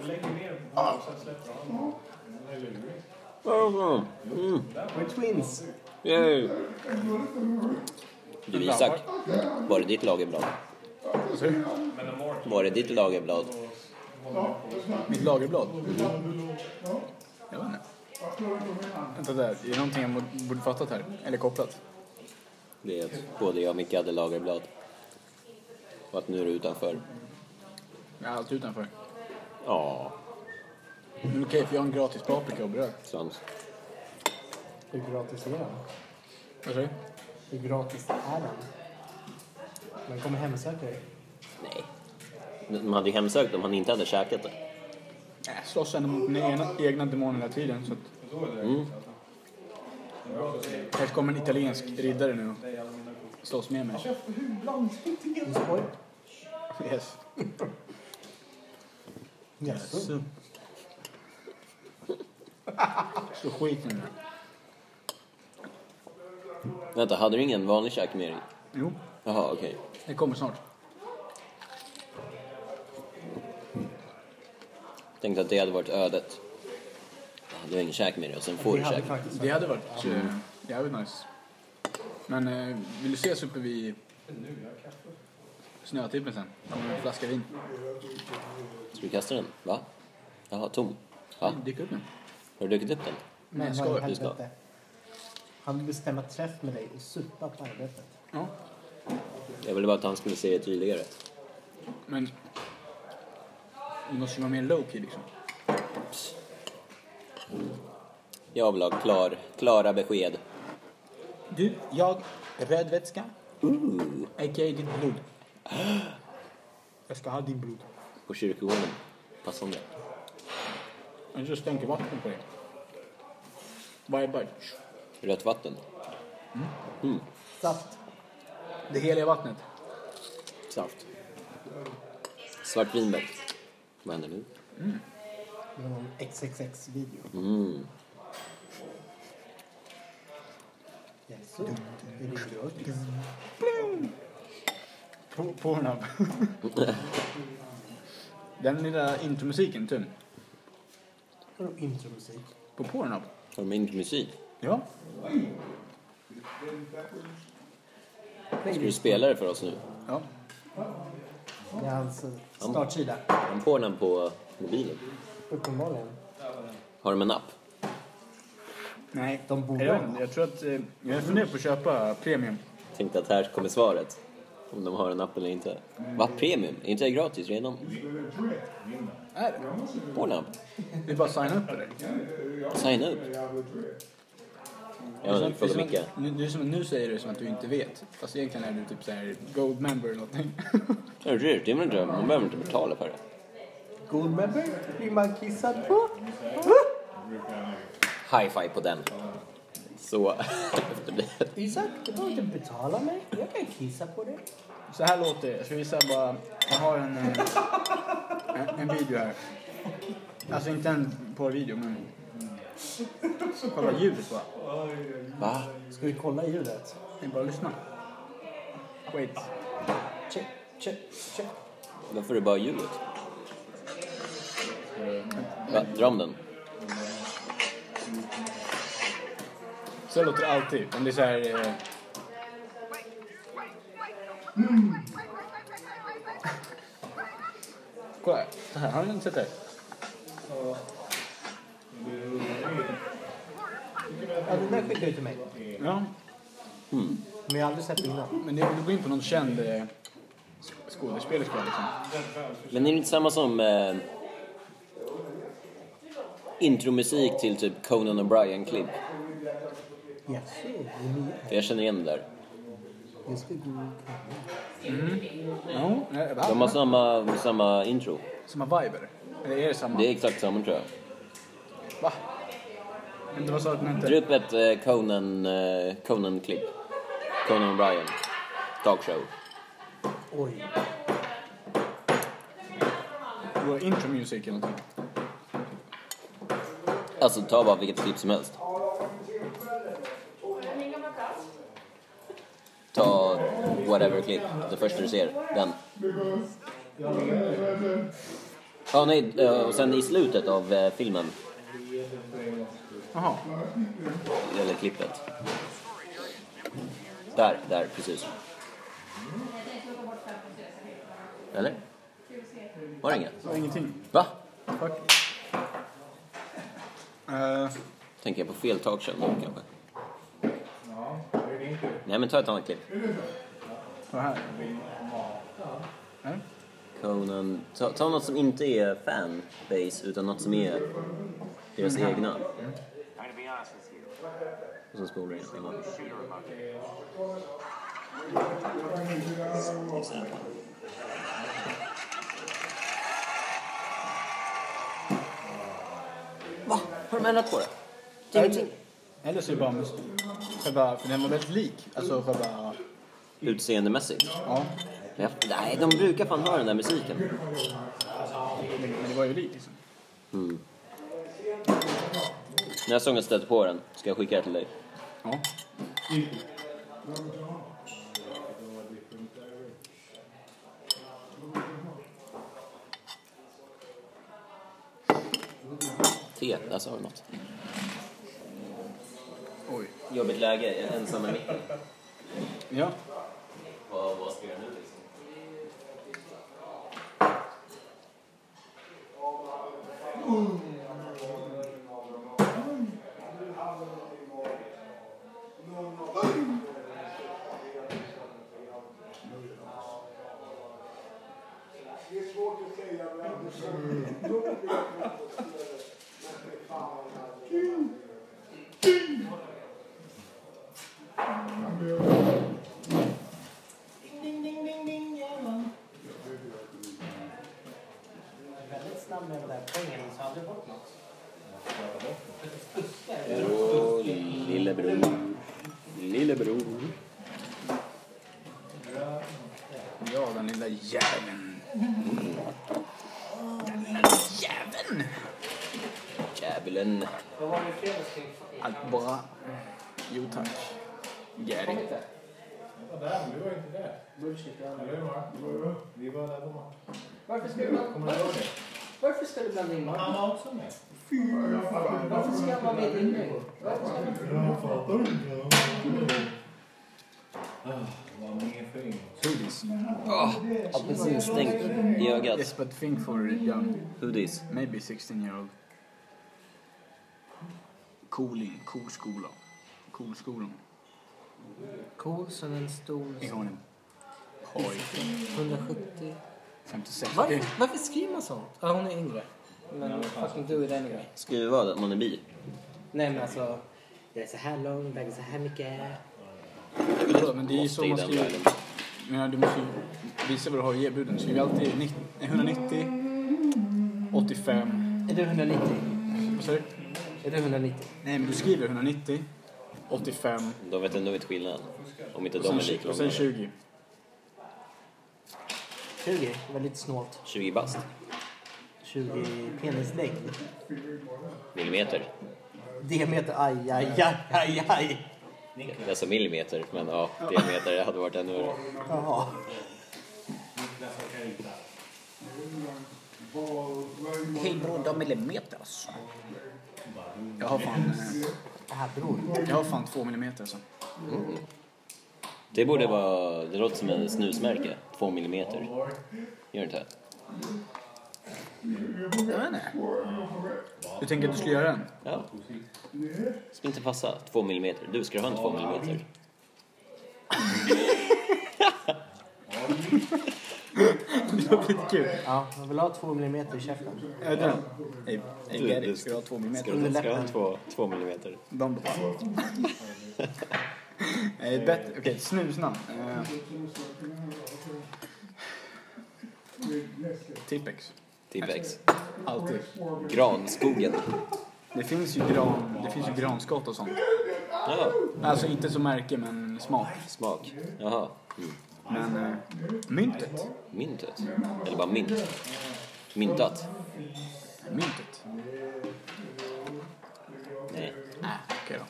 [SPEAKER 1] Mm.
[SPEAKER 4] We're twins.
[SPEAKER 1] Yay. Du Isak, var det ditt lagerblad?
[SPEAKER 2] Vad sa du?
[SPEAKER 1] Var det ditt lagerblad?
[SPEAKER 2] Mitt lagerblad? Jag vet inte. Vänta där, är det någonting jag borde fattat här? Eller kopplat?
[SPEAKER 1] Det är att både jag och Micke hade lagerblad. Och att nu är du utanför.
[SPEAKER 2] Jag är alltid utanför.
[SPEAKER 1] Ja,
[SPEAKER 2] Men Mm, okej, för jag har en gratis paprika och bröd.
[SPEAKER 1] sant.
[SPEAKER 4] Hur gratis är den?
[SPEAKER 2] Vad säger du?
[SPEAKER 4] Hur gratis är den? Den kommer hemsöka dig.
[SPEAKER 1] Nej. De hade ju hemsökt om han inte hade käkat det.
[SPEAKER 2] Jag slåss ändå mot mina egna, egna demoner hela tiden. Så att... Här kommer en italiensk riddare nu och slåss med mig.
[SPEAKER 4] Du skoj?
[SPEAKER 2] Yes.
[SPEAKER 4] Jaså?
[SPEAKER 2] Så skiten nu.
[SPEAKER 1] Vänta, hade du ingen vanlig käk med dig?
[SPEAKER 2] Jo,
[SPEAKER 1] Jaha, okej.
[SPEAKER 2] det kommer snart.
[SPEAKER 1] Tänkte att det hade varit ödet. Du har ingen käk med dig och sen får
[SPEAKER 4] Vi
[SPEAKER 1] du
[SPEAKER 4] hade
[SPEAKER 1] käk.
[SPEAKER 4] faktiskt...
[SPEAKER 2] Det hade varit eh, jävligt nice. Men eh, vill du ses uppe vid snötippen sen? Kommer en flaska vin.
[SPEAKER 1] Ska du kasta den? Va? Jaha, tom. Va?
[SPEAKER 2] Dyk upp nu.
[SPEAKER 1] Har du druckit upp den?
[SPEAKER 2] Nej, jag
[SPEAKER 4] Men vad i
[SPEAKER 2] skojar.
[SPEAKER 1] du ska.
[SPEAKER 4] helvete? Han vill bestämma träff med dig och supa på arbetet.
[SPEAKER 2] Ja.
[SPEAKER 1] Jag ville bara att han skulle se det tydligare.
[SPEAKER 2] Men... Det måste ju vara mer low-key liksom.
[SPEAKER 1] Jag vill ha klar, klara besked.
[SPEAKER 2] Du, jag, röd vätska,
[SPEAKER 1] Ooh.
[SPEAKER 2] a.k.a. ditt blod. Jag ska ha din blod.
[SPEAKER 1] På kyrkogården. Passande.
[SPEAKER 2] Jag just tänker vatten på det. Varje bajs.
[SPEAKER 1] Rött vatten.
[SPEAKER 4] Saft.
[SPEAKER 2] Det heliga vattnet.
[SPEAKER 1] Saft. Svart vinbäck. Vad händer nu?
[SPEAKER 4] Det var en XXX-video. Jaså? Är det gött?
[SPEAKER 2] På- Pornhub. Den lilla intromusiken, Tum.
[SPEAKER 4] Vadå intromusik?
[SPEAKER 2] På Pornhub.
[SPEAKER 1] Har de intromusik?
[SPEAKER 2] Ja.
[SPEAKER 1] Ska du spela det för oss nu?
[SPEAKER 2] Ja.
[SPEAKER 4] Det är hans eh, startsida.
[SPEAKER 1] Har de på den på mobilen?
[SPEAKER 4] Uppenbarligen.
[SPEAKER 1] Har de en app?
[SPEAKER 2] Nej.
[SPEAKER 4] De borde
[SPEAKER 2] Jag,
[SPEAKER 4] ha
[SPEAKER 2] vet inte, jag tror att... eh, Jag funderar på att köpa premium.
[SPEAKER 1] Tänkte att här kommer svaret. Om de har en app eller inte. Va, premium? Är inte det gratis redan?
[SPEAKER 2] Är det?
[SPEAKER 1] Pornhub?
[SPEAKER 2] Det är bara att signa upp eller?
[SPEAKER 1] Signa upp. Ja, fråga Micke.
[SPEAKER 2] Nu, du som, nu säger du som att du inte vet. Fast egentligen är du typ såhär gold member eller någonting.
[SPEAKER 1] Ja, Det är dyrt, det är väl inte, man behöver inte betala för det.
[SPEAKER 4] God member? Blir man kissad på?
[SPEAKER 1] Hi-fi på den. Så, efter det.
[SPEAKER 4] Isak, du behöver inte betala mig. Jag kan kissa på dig.
[SPEAKER 2] Så här låter det. Jag ska visa bara. Jag har en, eh, en, en video här. Alltså inte en porrvideo men... Kolla ljudet bara.
[SPEAKER 1] Va?
[SPEAKER 4] Ska vi kolla ljudet?
[SPEAKER 2] Det är bara att lyssna. Wait.
[SPEAKER 4] Check, check, check.
[SPEAKER 1] Varför är det bara ljudet? Va, dra om den.
[SPEAKER 2] Så här låter det alltid. Om det är så här... Eh, kolla här. Så här. Har ni inte sett det? här?
[SPEAKER 4] Ja, den där skickade du till mig.
[SPEAKER 2] Ja.
[SPEAKER 4] Men jag har aldrig sett det innan.
[SPEAKER 2] Men det är väl att gå in på någon känd eh, sk- skådespelerska liksom.
[SPEAKER 1] Men är det inte samma som eh, intromusik till typ Conan O'Brien-klipp?
[SPEAKER 4] Jaså, det är nya.
[SPEAKER 1] För jag känner igen det där.
[SPEAKER 4] Just det, god
[SPEAKER 2] Ja. Mm. nej, va?
[SPEAKER 1] De har samma, samma intro.
[SPEAKER 2] Samma vibe eller? Eller är det samma?
[SPEAKER 1] Det är exakt samma tror jag.
[SPEAKER 2] Va? Inte vad sa du att den hette?
[SPEAKER 1] Dra upp ett eh, Conan, eh, Conan-klipp. Conan O'Brien. Talkshow.
[SPEAKER 4] Oj.
[SPEAKER 2] Det var intro music eller någonting.
[SPEAKER 1] Alltså ta bara vilket klipp som helst. Ta whatever-klipp. Det första du ser. Den. Ja, nej. eh, Och sen i slutet av eh, filmen.
[SPEAKER 2] Jaha.
[SPEAKER 1] Eller klippet. Där, där, precis. Eller? Var det inga?
[SPEAKER 2] Det var ingenting.
[SPEAKER 1] Va?
[SPEAKER 2] Fuck. Eh,
[SPEAKER 1] Tänker jag på fel talkshow nu kanske? Nej men ta ett annat klipp.
[SPEAKER 2] så här. Nej.
[SPEAKER 1] Conan. Ta, ta något som inte är fanbase utan något som är deras egna. Och sen spolar jag in. Va? Har de ändrat på det? Det är Ingenting?
[SPEAKER 2] Eller så är det bara mus- själva, för den var väldigt lik. Alltså själva,
[SPEAKER 1] Utseendemässigt?
[SPEAKER 2] ja.
[SPEAKER 1] Ja, nej, de brukar fan ha den där musiken.
[SPEAKER 2] Men men det var ju lik liksom.
[SPEAKER 1] När jag sången stötte på den ska jag skicka det till dig.
[SPEAKER 2] Ja.
[SPEAKER 1] Te, där sa du något.
[SPEAKER 2] Oj.
[SPEAKER 1] Jobbigt läge, jag är ensam med micken.
[SPEAKER 2] Ja.
[SPEAKER 1] Vad, vad ska jag göra nu liksom?
[SPEAKER 4] Ding, ding, ding, ding, jajamän. Väldigt snabb med den där pengen, så aldrig bort något.
[SPEAKER 1] Jo, Lillebror. Lillebror.
[SPEAKER 2] Ja, den lilla jäveln.
[SPEAKER 1] Djävulen.
[SPEAKER 2] Allt bra. Jo tack. Gary.
[SPEAKER 6] var där, men du var inte där. Eller hur? Vi var där på matchen.
[SPEAKER 4] Varför ska du blanda, varför, varför ska du blanda in Marcus?
[SPEAKER 6] Han var också med.
[SPEAKER 4] Varför ska han vara med i din grej? Varför ska han-
[SPEAKER 6] Jag fattar inte. Vad mer för inget?
[SPEAKER 2] Hoodies.
[SPEAKER 1] Apelsinstänk i
[SPEAKER 2] Yes,
[SPEAKER 1] ögat.
[SPEAKER 2] but think for young.
[SPEAKER 1] Hoodies.
[SPEAKER 2] Maybe 16 year old. Cooling. Koskola. Kolskolan.
[SPEAKER 3] Cool som en stor...
[SPEAKER 2] I Hornen. Poj.
[SPEAKER 3] 170.
[SPEAKER 2] 56.
[SPEAKER 3] Varför, varför skriver man sånt? Ja, hon är yngre. Men fucking do it anyway.
[SPEAKER 1] Skriver vad? Att man är bi?
[SPEAKER 3] Nej men alltså, jag är så här lång, väger så här mycket.
[SPEAKER 2] Ja, men det är ju
[SPEAKER 1] Måste
[SPEAKER 2] så
[SPEAKER 1] i
[SPEAKER 2] man
[SPEAKER 1] den
[SPEAKER 2] skriver.
[SPEAKER 1] världen.
[SPEAKER 2] Men ja, du måste ju visa vad du har i erbjuden. Skriv alltid 90, 190, 85.
[SPEAKER 3] Är du 190?
[SPEAKER 2] Vad säger du?
[SPEAKER 3] Är du 190?
[SPEAKER 2] Nej, men du skriver 190, 85
[SPEAKER 1] De vet ändå inte skillnaden. Om inte
[SPEAKER 2] och
[SPEAKER 1] de är
[SPEAKER 2] sen,
[SPEAKER 1] lika
[SPEAKER 2] och sen
[SPEAKER 1] långa.
[SPEAKER 2] 20.
[SPEAKER 3] 20? Väldigt snålt.
[SPEAKER 1] 20 bast.
[SPEAKER 3] 20 penislängd.
[SPEAKER 1] Millimeter.
[SPEAKER 3] Diameter, aj, aj, aj, aj, aj.
[SPEAKER 1] Alltså millimeter, men ja, diameter det hade varit ännu värre.
[SPEAKER 3] Jaha.
[SPEAKER 2] Hej bror, de millimeter alltså. Jag har fan, eh,
[SPEAKER 3] Det här beror ju.
[SPEAKER 2] jag har fan två millimeter alltså.
[SPEAKER 1] Det borde vara... Det låter som en snusmärke. Två millimeter. Gör det inte?
[SPEAKER 2] Jag vet inte. Du tänker att du ska göra en?
[SPEAKER 1] Ja. Skulle inte passa. Två millimeter. Du, ska du ha en två millimeter?
[SPEAKER 2] Det var skitkul.
[SPEAKER 3] Ja, man vill ha 2 millimeter i käften.
[SPEAKER 2] Är det den? Nej, nej, Gary, ska du ha två
[SPEAKER 1] Ska
[SPEAKER 2] millimeter?
[SPEAKER 1] du, ska du ha en två, två millimeter?
[SPEAKER 2] De bara... Nej, bättre. Okej, snusnamn. Eh, Tippex.
[SPEAKER 1] Tipex.
[SPEAKER 2] Alltid.
[SPEAKER 1] Granskogen.
[SPEAKER 2] Det finns ju gran, det finns ju granskott och sånt.
[SPEAKER 1] Ja,
[SPEAKER 2] Alltså inte som märke, men smak.
[SPEAKER 1] smak. Jaha. Mm.
[SPEAKER 2] Men eh, myntet.
[SPEAKER 1] Myntet. Eller bara mynt. Myntat.
[SPEAKER 2] Myntet.
[SPEAKER 1] Nej.
[SPEAKER 2] Nej, Äh, okej då.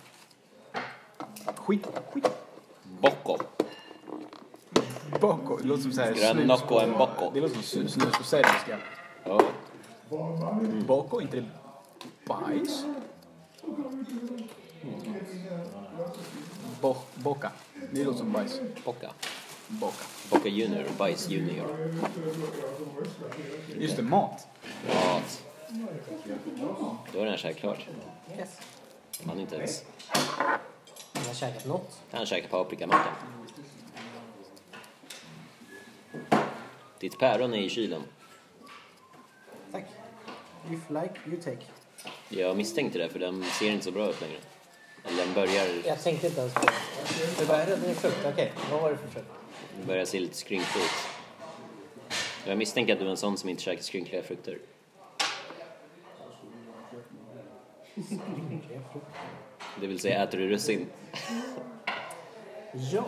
[SPEAKER 2] Skit, skit.
[SPEAKER 1] Bocco.
[SPEAKER 2] Boko. Det låter som så här
[SPEAKER 1] Ska du ha en
[SPEAKER 2] snus
[SPEAKER 1] Nocco och en
[SPEAKER 2] på-
[SPEAKER 1] Bocco?
[SPEAKER 2] Det låter som snus- snus på serbiska.
[SPEAKER 1] Ja.
[SPEAKER 2] Boko, inte det bajs? Bo, boka. Det låter som bajs.
[SPEAKER 1] Bocca.
[SPEAKER 2] Boka.
[SPEAKER 1] Bocca Junior och Bajs Junior.
[SPEAKER 2] Just det, mat.
[SPEAKER 1] Ja. Då är den här klart.
[SPEAKER 3] Yes.
[SPEAKER 1] Han inte ens...
[SPEAKER 3] Man har käkat något.
[SPEAKER 1] Han käkar paprikamacka. Ditt päron är i kylen.
[SPEAKER 3] Tack. If like, you take.
[SPEAKER 1] Jag misstänkte det, för den ser inte så bra ut längre. Eller den börjar,
[SPEAKER 3] Jag tänkte inte ens på det. Jag bara, är det frukt? Okej, vad var det för frukt?
[SPEAKER 1] den börjar se lite skrynklig ut. Jag misstänker att du är en sån som inte käkar skrynkliga frukter. Det vill säga, äter du russin?
[SPEAKER 3] Ja.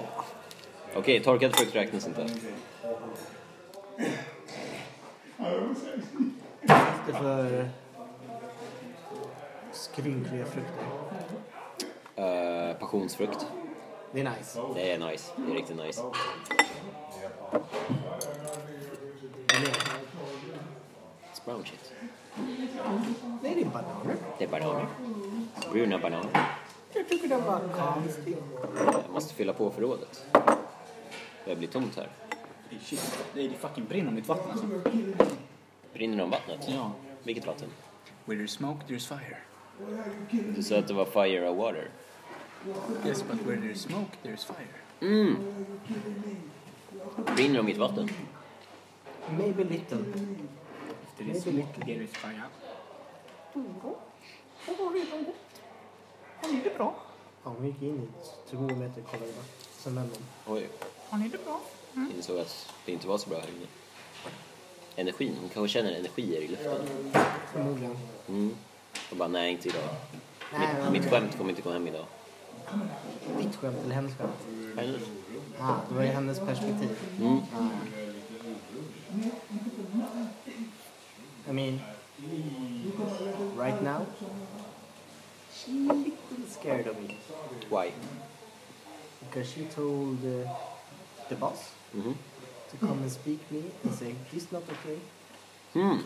[SPEAKER 1] Okej, torkad frukt räknas inte.
[SPEAKER 4] Det är för skrynkliga frukter.
[SPEAKER 1] Eh, passionsfrukt.
[SPEAKER 3] Det är nice.
[SPEAKER 1] Det är nice. Det är riktigt nice. It's brown shit.
[SPEAKER 3] Nej, det är bananer.
[SPEAKER 1] Det är bananer. Bruna bananer.
[SPEAKER 3] Jag tycker den var konstig.
[SPEAKER 1] Jag måste fylla på förrådet. Det blir tomt här.
[SPEAKER 2] Hey, shit. Nej, det fucking brinner om mitt vatten alltså.
[SPEAKER 1] Brinner det om vattnet?
[SPEAKER 2] Ja.
[SPEAKER 1] Vilket vatten?
[SPEAKER 2] Where there's smoke, there's fire.
[SPEAKER 1] Du sa att det var fire or water.
[SPEAKER 2] Yes, but where there's smoke, there's fire.
[SPEAKER 1] Brinner det om mitt vatten?
[SPEAKER 3] Maybe little.
[SPEAKER 2] If there is smoke, there is fire.
[SPEAKER 4] Ja, hon gick in i två meter och kollade. Sen vände hon.
[SPEAKER 1] Oj. Jag insåg att det inte var så bra här inne. Energin. Hon kanske känner energier i luften.
[SPEAKER 3] Förmodligen.
[SPEAKER 1] Mm. Och bara, nej inte idag.
[SPEAKER 3] Nej,
[SPEAKER 1] Mitt, mitt skämt kommer inte gå hem idag.
[SPEAKER 4] Ditt skämt eller hennes skämt? Ah, det var ju hennes perspektiv.
[SPEAKER 1] Mm.
[SPEAKER 4] Ah. I mean, right now, she a little scared of me.
[SPEAKER 1] Why?
[SPEAKER 4] Because she told uh, the boss
[SPEAKER 1] Mhm.
[SPEAKER 4] to come and speak me and say, he's not okay.
[SPEAKER 1] Mm.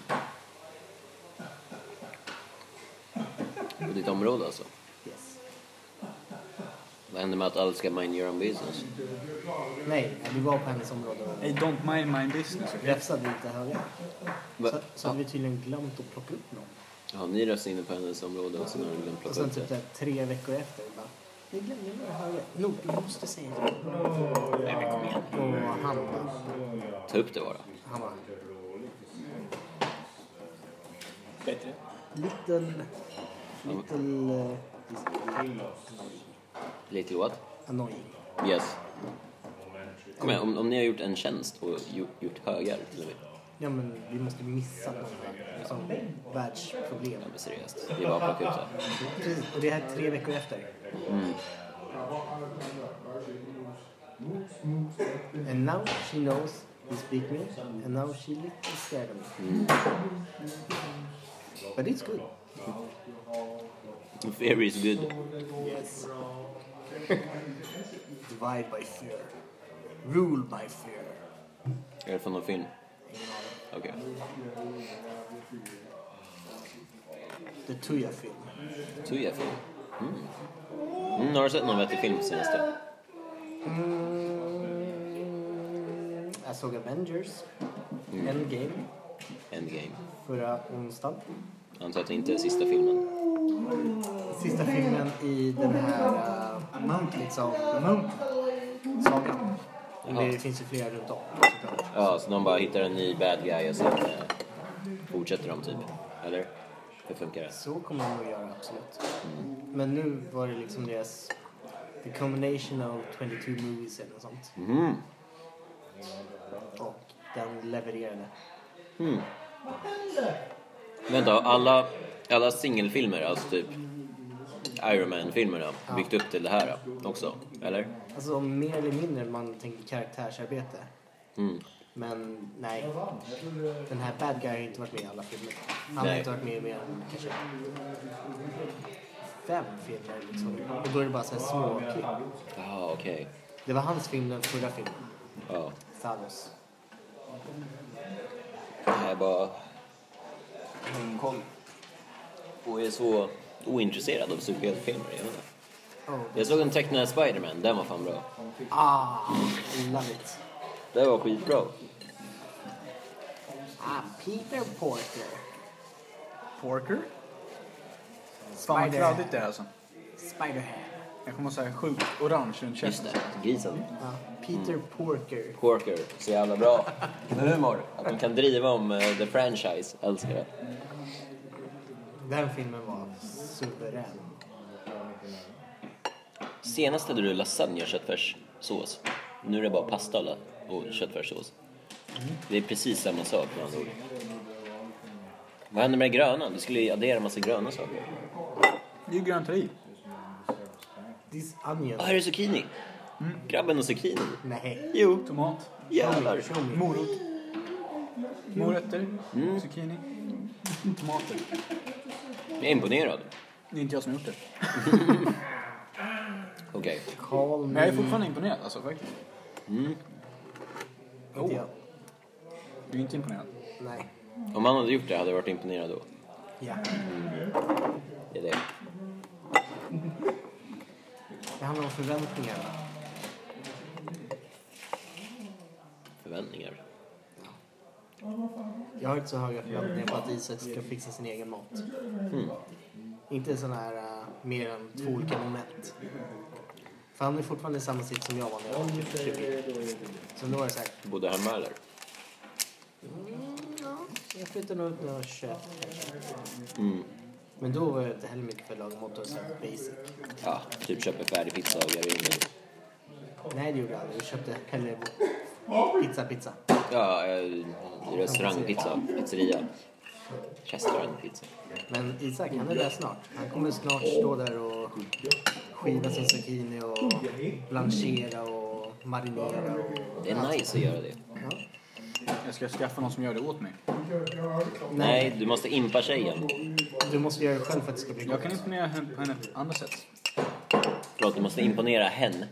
[SPEAKER 1] På ditt område alltså?
[SPEAKER 4] Yes.
[SPEAKER 1] Vad händer med att alla ska mind your own business?
[SPEAKER 4] Nej, vi var på hennes område och
[SPEAKER 2] Hey, don't mind my business. Okay?
[SPEAKER 4] räfsade lite högre.
[SPEAKER 1] Va?
[SPEAKER 4] Så, så hade vi tydligen glömt att plocka upp någon.
[SPEAKER 1] Ja, ni röstar in på hennes område och sen har ni glömt
[SPEAKER 4] Och
[SPEAKER 1] plocka
[SPEAKER 4] sen
[SPEAKER 1] upp
[SPEAKER 4] typ
[SPEAKER 1] det.
[SPEAKER 4] där, tre veckor efter, vi bara, vi glömde några högre. Nog, vi måste säga det. Och han bara,
[SPEAKER 1] Ta upp det bara.
[SPEAKER 4] han bara,
[SPEAKER 7] Bättre.
[SPEAKER 4] little, little uh,
[SPEAKER 1] Little what?
[SPEAKER 4] annoying.
[SPEAKER 1] Yes. Kom igen, om, om ni har gjort en tjänst och gjo- gjort högar till och med.
[SPEAKER 4] Ja men vi måste missa någon som världsproblem.
[SPEAKER 1] Ja, men seriöst. Det är bara att plocka upp det.
[SPEAKER 4] Precis, och det här är tre veckor efter. And now she knows he speak me and now she little scared of me. But it's good.
[SPEAKER 1] Fear is good.
[SPEAKER 4] Yes. Divide by fear. Rule by fear.
[SPEAKER 1] Är det från någon film?
[SPEAKER 4] Ingen aning.
[SPEAKER 1] Okej.
[SPEAKER 4] The Tuya film.
[SPEAKER 1] Tuya-film. E Mm. Mm, har du sett någon vettig film på senaste?
[SPEAKER 4] Mm, jag såg Avengers. Endgame.
[SPEAKER 1] Endgame.
[SPEAKER 4] Förra onsdagen.
[SPEAKER 1] Antar att det inte är sista filmen.
[SPEAKER 4] Sista filmen i den här uh, Mount, liksom. Mount. Sagan. Men
[SPEAKER 1] Jaha.
[SPEAKER 4] Det finns ju flera runt om såklart.
[SPEAKER 1] Ja, så de bara hittar en ny bad guy och sen eh, fortsätter de typ. Eller? Hur funkar det?
[SPEAKER 4] Så kommer de att göra, absolut. Men nu var det liksom deras... The combination of 22 movies eller något sånt.
[SPEAKER 1] Mhm.
[SPEAKER 4] Och den levererade.
[SPEAKER 1] Vänta, har alla, alla singelfilmer, alltså typ Iron Man-filmerna, byggt upp till det här då, också? Eller?
[SPEAKER 4] Alltså mer eller mindre man tänker karaktärsarbete.
[SPEAKER 1] Mm.
[SPEAKER 4] Men nej. Den här bad guy har inte varit med i alla filmer. Han har
[SPEAKER 1] Nej.
[SPEAKER 4] inte varit med i mer än kanske fem filmer liksom. Och då är det bara så här små klipp.
[SPEAKER 1] Ja, Ah, okej.
[SPEAKER 4] Det var hans film, den förra filmen.
[SPEAKER 1] Ja.
[SPEAKER 4] Thanos.
[SPEAKER 1] Det här är bara... Och är så ointresserad av superhjältefilmer. Jag, vet inte.
[SPEAKER 4] Oh.
[SPEAKER 1] jag såg den tecknade Spider-Man, den var fan bra.
[SPEAKER 4] Ah, love it.
[SPEAKER 1] Den var skitbra.
[SPEAKER 4] Ah, Peter Porker. Porker? Spider.
[SPEAKER 2] Fan vad kladdigt det är alltså.
[SPEAKER 4] Spider-Ham.
[SPEAKER 2] Jag kommer att säga sjukt orange runt
[SPEAKER 1] Just
[SPEAKER 2] käften.
[SPEAKER 1] det, grisen.
[SPEAKER 4] Ja, Ah, Peter Porker.
[SPEAKER 1] Porker, så jävla bra. Humor, att de kan driva om eh, the franchise. Älskar det.
[SPEAKER 4] Den filmen var suverän.
[SPEAKER 1] Senast hade du lasagne och köttfärssås. Nu är det bara pasta och la- och köttfärssås. Det är precis samma sak med andra ord. Vad händer med det gröna? Du skulle ju addera en massa gröna saker.
[SPEAKER 2] Det är ju grönt i.
[SPEAKER 4] This onion.
[SPEAKER 1] Ah, här är zucchini! Grabben och zucchini.
[SPEAKER 4] Nej.
[SPEAKER 1] Jo,
[SPEAKER 2] Tomat.
[SPEAKER 1] jävlar.
[SPEAKER 4] Show me.
[SPEAKER 2] Morot. Mm. Morötter. Zucchini. Tomater.
[SPEAKER 1] Jag är imponerad.
[SPEAKER 2] Det är inte jag som har gjort det.
[SPEAKER 1] Okej.
[SPEAKER 4] Call
[SPEAKER 2] Men jag är
[SPEAKER 4] me.
[SPEAKER 2] fortfarande imponerad alltså faktiskt.
[SPEAKER 4] Inte jag.
[SPEAKER 2] Du är inte imponerad.
[SPEAKER 4] Nej.
[SPEAKER 1] Om han hade gjort det hade jag varit imponerad då.
[SPEAKER 4] Ja.
[SPEAKER 1] Det är det.
[SPEAKER 4] Det handlar om förväntningar. va?
[SPEAKER 1] Förväntningar.
[SPEAKER 4] Jag har inte så höga förväntningar på att Isak ska fixa sin egen mat. Hmm. Inte sån här eh, mer än två olika moment. För han är fortfarande i samma sits som jag var när jag var typ 20. Så då var det så här.
[SPEAKER 1] Bodde hemma eller?
[SPEAKER 4] Mm, ja, jag flyttade nog ut när jag var 21 kanske. Men då var jag inte heller mycket för lagom mat och så här basic.
[SPEAKER 1] Ja, typ köper färdig pizza och gör ingen...
[SPEAKER 4] Nej, det gjorde jag aldrig. Jag köpte hellre pizza, pizza.
[SPEAKER 1] Ja, eh, restaurangpizza. Pizzeria. Restaurangpizza.
[SPEAKER 4] Men Isak, han är där snart. Han kommer snart stå där och skiva sin zucchini och blanchera och marinera. Och...
[SPEAKER 1] Det är nice att göra det.
[SPEAKER 2] Jag ska skaffa någon som gör det åt mig.
[SPEAKER 1] Nej, du måste impa tjejen.
[SPEAKER 4] Du måste göra det själv för att det ska bli gott.
[SPEAKER 2] Jag kan imponera henne på henne på andra sätt.
[SPEAKER 1] Förlåt, du måste imponera henne.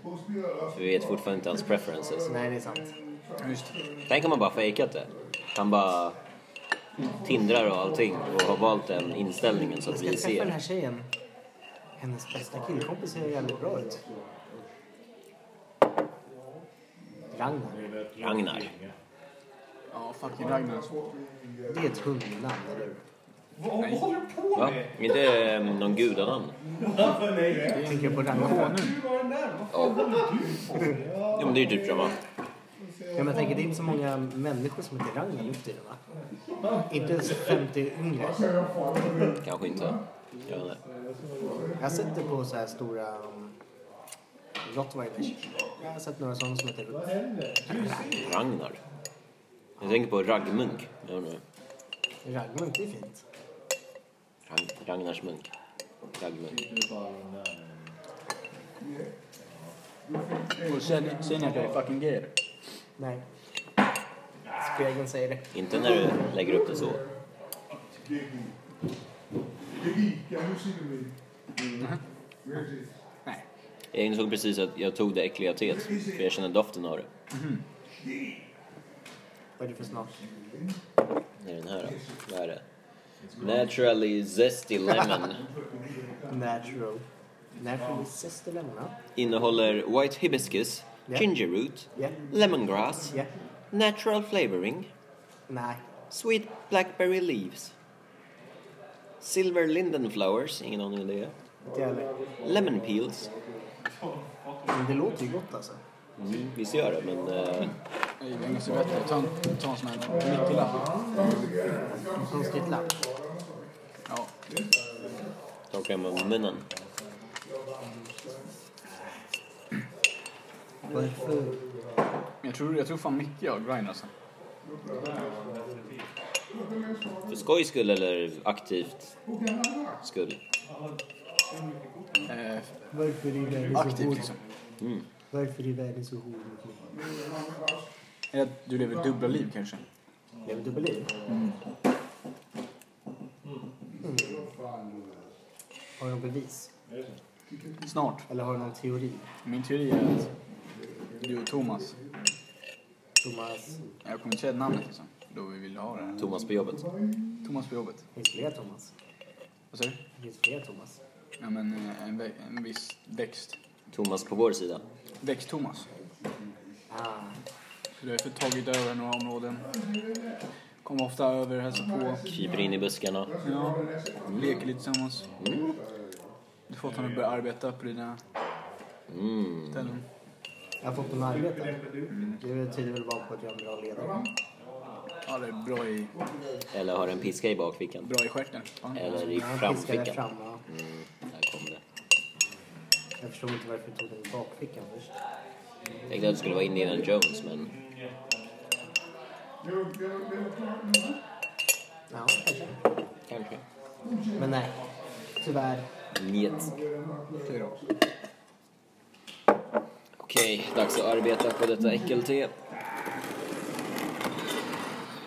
[SPEAKER 1] För vi vet fortfarande inte hans preferences.
[SPEAKER 4] Nej, det är sant.
[SPEAKER 2] Just det.
[SPEAKER 1] Tänk om man bara fejkat det. Han bara tindrar och allting och har valt den inställningen så att
[SPEAKER 4] Jag
[SPEAKER 1] vi
[SPEAKER 4] ska träffa den här
[SPEAKER 1] ser.
[SPEAKER 4] tjejen. Hennes bästa killkompis ser jävligt bra ut. Ragnar.
[SPEAKER 1] Ragnar.
[SPEAKER 2] Ja, fucking Ragnar.
[SPEAKER 4] Det är ett hundnamn, eller hur?
[SPEAKER 5] Vad, vad håller du på
[SPEAKER 1] Va?
[SPEAKER 5] med?
[SPEAKER 1] Är inte eh, någon gudanamn?
[SPEAKER 4] Tänker jag på Ragnar?
[SPEAKER 5] Du var den där. Vad fan håller du på med?
[SPEAKER 1] Jo, men det är ju typ samma.
[SPEAKER 4] Ja, men jag tänker, det är inte så många människor som heter Ragnar nu för tiden, va? Inte ens 50 yngre.
[SPEAKER 1] Kanske inte. Jag vet inte.
[SPEAKER 4] Jag har sett det på så här stora um, rottweilers. Jag har sett några sådana som heter Rutt.
[SPEAKER 1] Ragnar. Jag tänker på raggmunk. Jag undrar.
[SPEAKER 4] Ragnar, det är fint.
[SPEAKER 1] Ragn Ragnars munk. Raggmunk.
[SPEAKER 2] Och sen, sen att jag är fucking gay.
[SPEAKER 4] Nej. Spegeln säger det.
[SPEAKER 1] Inte när du lägger upp det så. Jag insåg precis att jag tog det äckliga teet, för jag känner doften av det.
[SPEAKER 4] Vad är det för smak?
[SPEAKER 1] Det är den här då. Vad är det? Naturally zesty lemon.
[SPEAKER 4] Natural. Natural zesty lemon, va?
[SPEAKER 1] Innehåller white hibiscus,
[SPEAKER 4] Ja.
[SPEAKER 1] ginger root,
[SPEAKER 4] Ja.
[SPEAKER 1] lemongrass,
[SPEAKER 4] Ja.
[SPEAKER 1] natural flavoring,
[SPEAKER 4] Nej.
[SPEAKER 1] sweet blackberry leaves, silver linden flowers, ingen aning om det är,
[SPEAKER 4] Inte jag heller.
[SPEAKER 1] lemon peels.
[SPEAKER 4] Men det låter ju gott alltså.
[SPEAKER 1] Mm, visst gör det, men eh,
[SPEAKER 2] Jag gillar inga servetter. Ta en, ta en sån här mickelapp.
[SPEAKER 4] Konstigt lapp.
[SPEAKER 2] Ja.
[SPEAKER 1] torka med munnen.
[SPEAKER 4] Varför?
[SPEAKER 2] Men Jag tror, jag tror fan Micke och Grind alltså.
[SPEAKER 1] För skojs skull eller aktivt skull?
[SPEAKER 2] Eh,
[SPEAKER 4] Varför är världen så
[SPEAKER 2] aktivt
[SPEAKER 4] hård?
[SPEAKER 2] liksom.
[SPEAKER 4] Varför är världen så hård mot mig?
[SPEAKER 2] Eller att du lever dubbla liv kanske.
[SPEAKER 4] Lever dubbelliv? Mm. Har du något bevis?
[SPEAKER 2] Snart.
[SPEAKER 4] Eller har du någon teori?
[SPEAKER 2] Min teori är att du och Thomas,
[SPEAKER 4] Thomas,
[SPEAKER 2] jag kommer inte säga namnet liksom, då vi vill ha det. här.
[SPEAKER 1] Thomas på jobbet.
[SPEAKER 2] Thomas på jobbet.
[SPEAKER 4] finns fler Thomas?
[SPEAKER 2] Vad säger du?
[SPEAKER 4] Finns fler Thomas?
[SPEAKER 2] Ja men eh, en, vä- en viss växt.
[SPEAKER 1] Thomas på vår sida.
[SPEAKER 2] Växt-Thomas.
[SPEAKER 4] Ah,
[SPEAKER 2] Så du har tagit över några områden. Kommer ofta över, hälsar på.
[SPEAKER 1] Kryper in i buskarna.
[SPEAKER 2] Ja, leker lite tillsammans. Du får honom att börja arbeta på dina
[SPEAKER 1] Mm.
[SPEAKER 2] ställen.
[SPEAKER 4] jag har fått en arbete. Det betyder väl bara på att jag är en bra ledare.
[SPEAKER 2] Ja, det är bra i,
[SPEAKER 1] Eller har en piska i bakfickan.
[SPEAKER 2] bra i stjärten. Ja.
[SPEAKER 1] Eller i
[SPEAKER 4] Jag har en piska där
[SPEAKER 1] framfickan.
[SPEAKER 4] fram, va?
[SPEAKER 1] Mm, där kom det.
[SPEAKER 4] Jag förstår inte varför du tog den i bakfickan först.
[SPEAKER 1] Jag tänkte att det skulle vara Indiana Jones, men
[SPEAKER 4] Ja, kanske.
[SPEAKER 1] kanske.
[SPEAKER 4] Men nej, tyvärr.
[SPEAKER 1] Njet.
[SPEAKER 2] Okej då.
[SPEAKER 1] Okej, dags att arbeta på detta äckelte.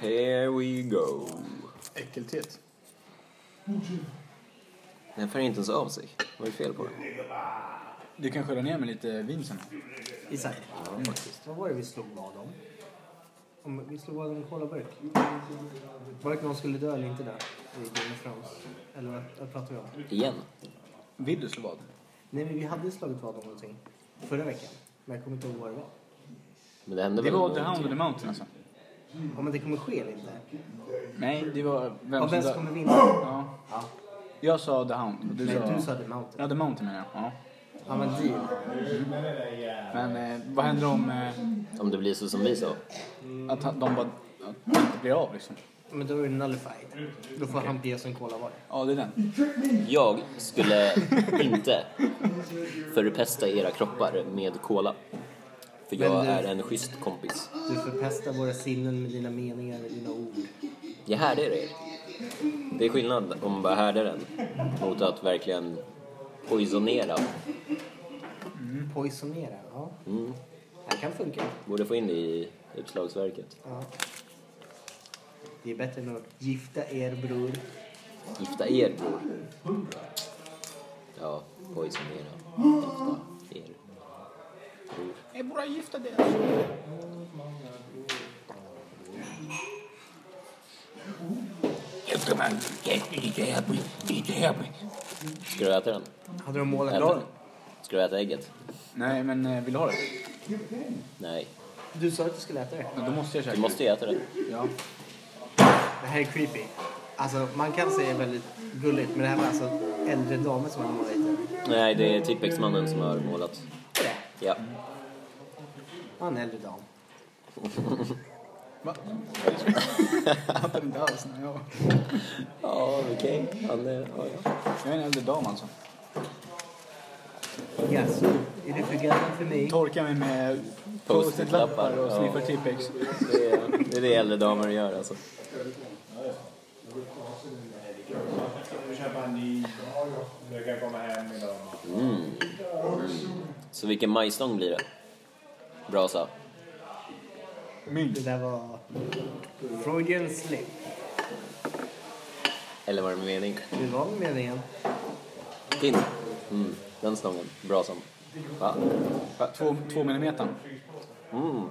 [SPEAKER 1] Here we go.
[SPEAKER 2] Äckeltet.
[SPEAKER 1] Den färgar inte ens av sig. Vad är fel på den?
[SPEAKER 2] Du kan skölja ner med lite vin sen.
[SPEAKER 4] Isak, vad var det vi slog vad om? om vi slog vad om en colaburk. Var det att någon skulle dö eller inte dö i Game of Thrones? Eller vad, vad pratar vi om?
[SPEAKER 1] Igen?
[SPEAKER 2] Vill du slå vad?
[SPEAKER 4] Nej, men vi hade slagit vad om någonting förra veckan. Men jag kommer inte ihåg vad det var.
[SPEAKER 1] Men det hände
[SPEAKER 2] Det
[SPEAKER 1] väl
[SPEAKER 2] var The
[SPEAKER 1] någonting.
[SPEAKER 2] Hound of the Mountain alltså.
[SPEAKER 4] Ja, men det kommer ske eller inte?
[SPEAKER 2] Nej, det var vem
[SPEAKER 4] Och
[SPEAKER 2] som
[SPEAKER 4] vem som
[SPEAKER 2] dör.
[SPEAKER 4] kommer vinna?
[SPEAKER 2] Ja.
[SPEAKER 4] Ja.
[SPEAKER 2] Jag sa The Hound. och Du
[SPEAKER 4] Nej,
[SPEAKER 2] sa...
[SPEAKER 4] du sa The Mountain.
[SPEAKER 2] Ja, The Mountain menar jag. Ja.
[SPEAKER 4] Ja, men deal.
[SPEAKER 2] Men eh, vad händer om eh,
[SPEAKER 1] Om det blir så som vi sa.
[SPEAKER 2] att han- de bara att de inte blir av liksom?
[SPEAKER 4] Men då är det nullified. Då får han be som kolla var.
[SPEAKER 2] Ja, det är den.
[SPEAKER 1] Jag skulle inte förpesta era kroppar med cola. För jag
[SPEAKER 4] Men du-
[SPEAKER 2] eh,
[SPEAKER 1] är en schysst kompis.
[SPEAKER 4] Du förpestar våra sinnen med dina meningar och dina ord.
[SPEAKER 1] Jag härdar er. Det är skillnad om man bara härdar den mot att verkligen poisonera
[SPEAKER 4] Poisonera, ja.
[SPEAKER 1] Mm.
[SPEAKER 4] Det kan funka.
[SPEAKER 1] Borde få in det i utslagsverket.
[SPEAKER 4] Ja. Det är bättre än att gifta er bror.
[SPEAKER 1] Gifta er bror. Ja, poisonera. Gifta er.
[SPEAKER 2] Är bara gifta det.
[SPEAKER 1] Ska du äta den?
[SPEAKER 4] Hade de målat
[SPEAKER 1] Äta den?
[SPEAKER 4] klart?
[SPEAKER 1] Ska du äta ägget?
[SPEAKER 2] Nej, men eh, vill du ha det?
[SPEAKER 1] Nej.
[SPEAKER 4] Du sa att du skulle äta det.
[SPEAKER 2] Men Då måste jag käka.
[SPEAKER 1] Du måste ju äta den.
[SPEAKER 2] Ja.
[SPEAKER 4] Det här är creepy. Alltså, man kan säga väldigt gulligt, men det här var alltså äldre damer som hade målat hit det.
[SPEAKER 1] Nej, det är Tippexmannen som har målat.
[SPEAKER 4] Är det?
[SPEAKER 1] Ja.
[SPEAKER 4] Ja, en äldre dam.
[SPEAKER 2] Va? Jag fattar inte alls. Nej, jag...
[SPEAKER 1] Ja, okej. Han är... Ja, ja.
[SPEAKER 2] jag är en äldre dam alltså.
[SPEAKER 4] Jaså, är du för gammal för mig?
[SPEAKER 2] Torkar mig med
[SPEAKER 1] Post-it-lappar
[SPEAKER 2] post-it-lappar och
[SPEAKER 1] ja.
[SPEAKER 2] sniffar Tippex.
[SPEAKER 1] Det är, det är det äldre damer gör alltså.
[SPEAKER 6] Ska vi köpa en ny? Du kan komma hem idag.
[SPEAKER 1] Så vilken majstång blir det? Brasa.
[SPEAKER 4] Det där var Freudian slip.
[SPEAKER 1] Eller var det med mening?
[SPEAKER 4] Det var väl meningen.
[SPEAKER 1] Din. Mm. Den stången. Brasan. Va?
[SPEAKER 2] Va, Två, två millimeter.
[SPEAKER 1] Mm.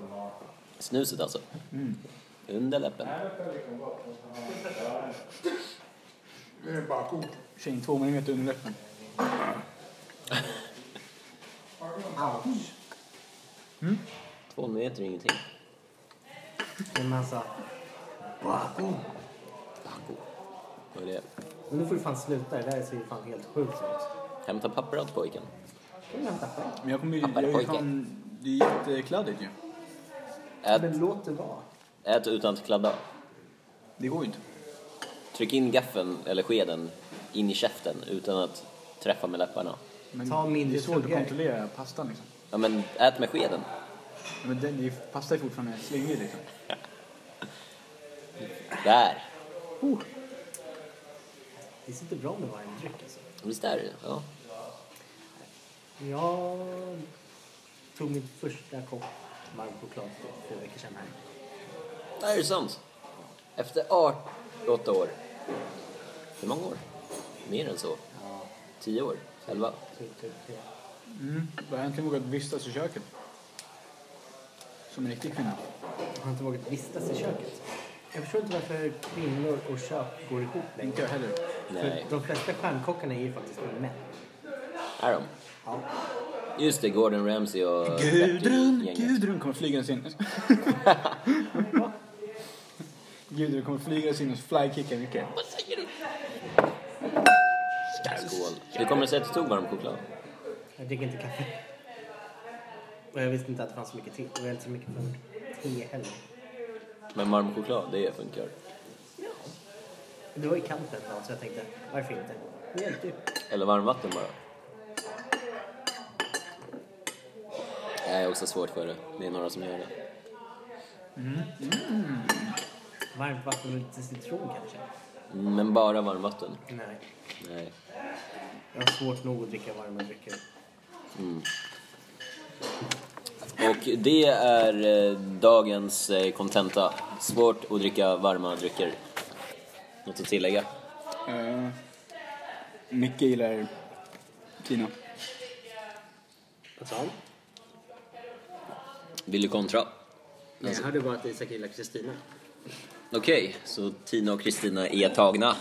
[SPEAKER 1] Snuset alltså. Under läppen.
[SPEAKER 2] Tjejen två millimeter under läppen.
[SPEAKER 4] Ouch.
[SPEAKER 1] Två meter är ingenting.
[SPEAKER 4] En massa... Baku.
[SPEAKER 1] Vad är det?
[SPEAKER 4] Men nu får du fan sluta. Det där ser ju fan helt sjukt ut.
[SPEAKER 1] Hämta papper åt pojken.
[SPEAKER 4] Kan du hämta själv?
[SPEAKER 2] Men jag kommer ju...
[SPEAKER 1] Pappa,
[SPEAKER 2] Jag är ju
[SPEAKER 1] pojke.
[SPEAKER 2] fan, det är jättekladdigt ju.
[SPEAKER 1] Ät,
[SPEAKER 4] Men låt det vara.
[SPEAKER 1] ät utan att kladda.
[SPEAKER 2] Det går ju inte.
[SPEAKER 1] Tryck in gaffeln, eller skeden, in i käften utan att träffa med läpparna.
[SPEAKER 2] Men
[SPEAKER 4] Ta mindre
[SPEAKER 2] det är svårt att
[SPEAKER 4] tuggar.
[SPEAKER 2] kontrollera pastan liksom.
[SPEAKER 1] Ja, men ät med skeden.
[SPEAKER 2] Men den, det är- pasta är fortfarande slängig liksom.
[SPEAKER 1] Där!
[SPEAKER 4] Det sitter bra med varm dryck alltså.
[SPEAKER 1] Visst är det? Ja.
[SPEAKER 4] Jag tog min första kopp varm choklad för två veckor sedan här.
[SPEAKER 1] Det här är sant. Efter 18 år. Hur många år? Mer än så.
[SPEAKER 4] Ja,
[SPEAKER 1] 10 år? 11?
[SPEAKER 4] typ, typ, typ.
[SPEAKER 2] Mm. Jag har äntligen vågat vistas i köket. Som en riktig kvinna.
[SPEAKER 4] Jag har inte vågat vistas i köket. Jag förstår inte varför kvinnor och kök går ihop längre.
[SPEAKER 2] Inte jag heller.
[SPEAKER 1] Nej.
[SPEAKER 4] För de flesta stjärnkockarna är ju faktiskt män.
[SPEAKER 1] Är de?
[SPEAKER 4] Ja.
[SPEAKER 1] Just det, Gordon Ramsay och
[SPEAKER 2] Gudrun!
[SPEAKER 1] Betty-gänget.
[SPEAKER 2] Gudrun kommer flygandes in. Gudrun kommer flygandes in och flykicka Micke.
[SPEAKER 1] Skål. Hur kommer det sig att du tog varm choklad?
[SPEAKER 4] Jag dricker inte kaffe. Och jag visste inte att det fanns så mycket te. Och jag är inte så mycket för te heller.
[SPEAKER 1] Men varm choklad, det funkar.
[SPEAKER 4] Det var i kanten då, så jag tänkte, varför inte? Det hjälpte ju.
[SPEAKER 1] Eller varmvatten bara. Jag är också svårt för det. Det är några som gör det.
[SPEAKER 4] Varmt vatten och lite citron kanske?
[SPEAKER 1] Mm, Men bara varmvatten?
[SPEAKER 4] Nej.
[SPEAKER 1] Nej.
[SPEAKER 4] Jag har svårt nog att dricka varma drycker.
[SPEAKER 1] Och det är eh, dagens eh, kontenta. Svårt att dricka varma drycker. Något att tillägga?
[SPEAKER 2] Uh, Micke gillar Kina.
[SPEAKER 4] Vad sa han?
[SPEAKER 1] Vill du kontra?
[SPEAKER 3] Jag hörde bara att Isak gillar Kristina.
[SPEAKER 1] Okej, så Tina och Kristina är tagna.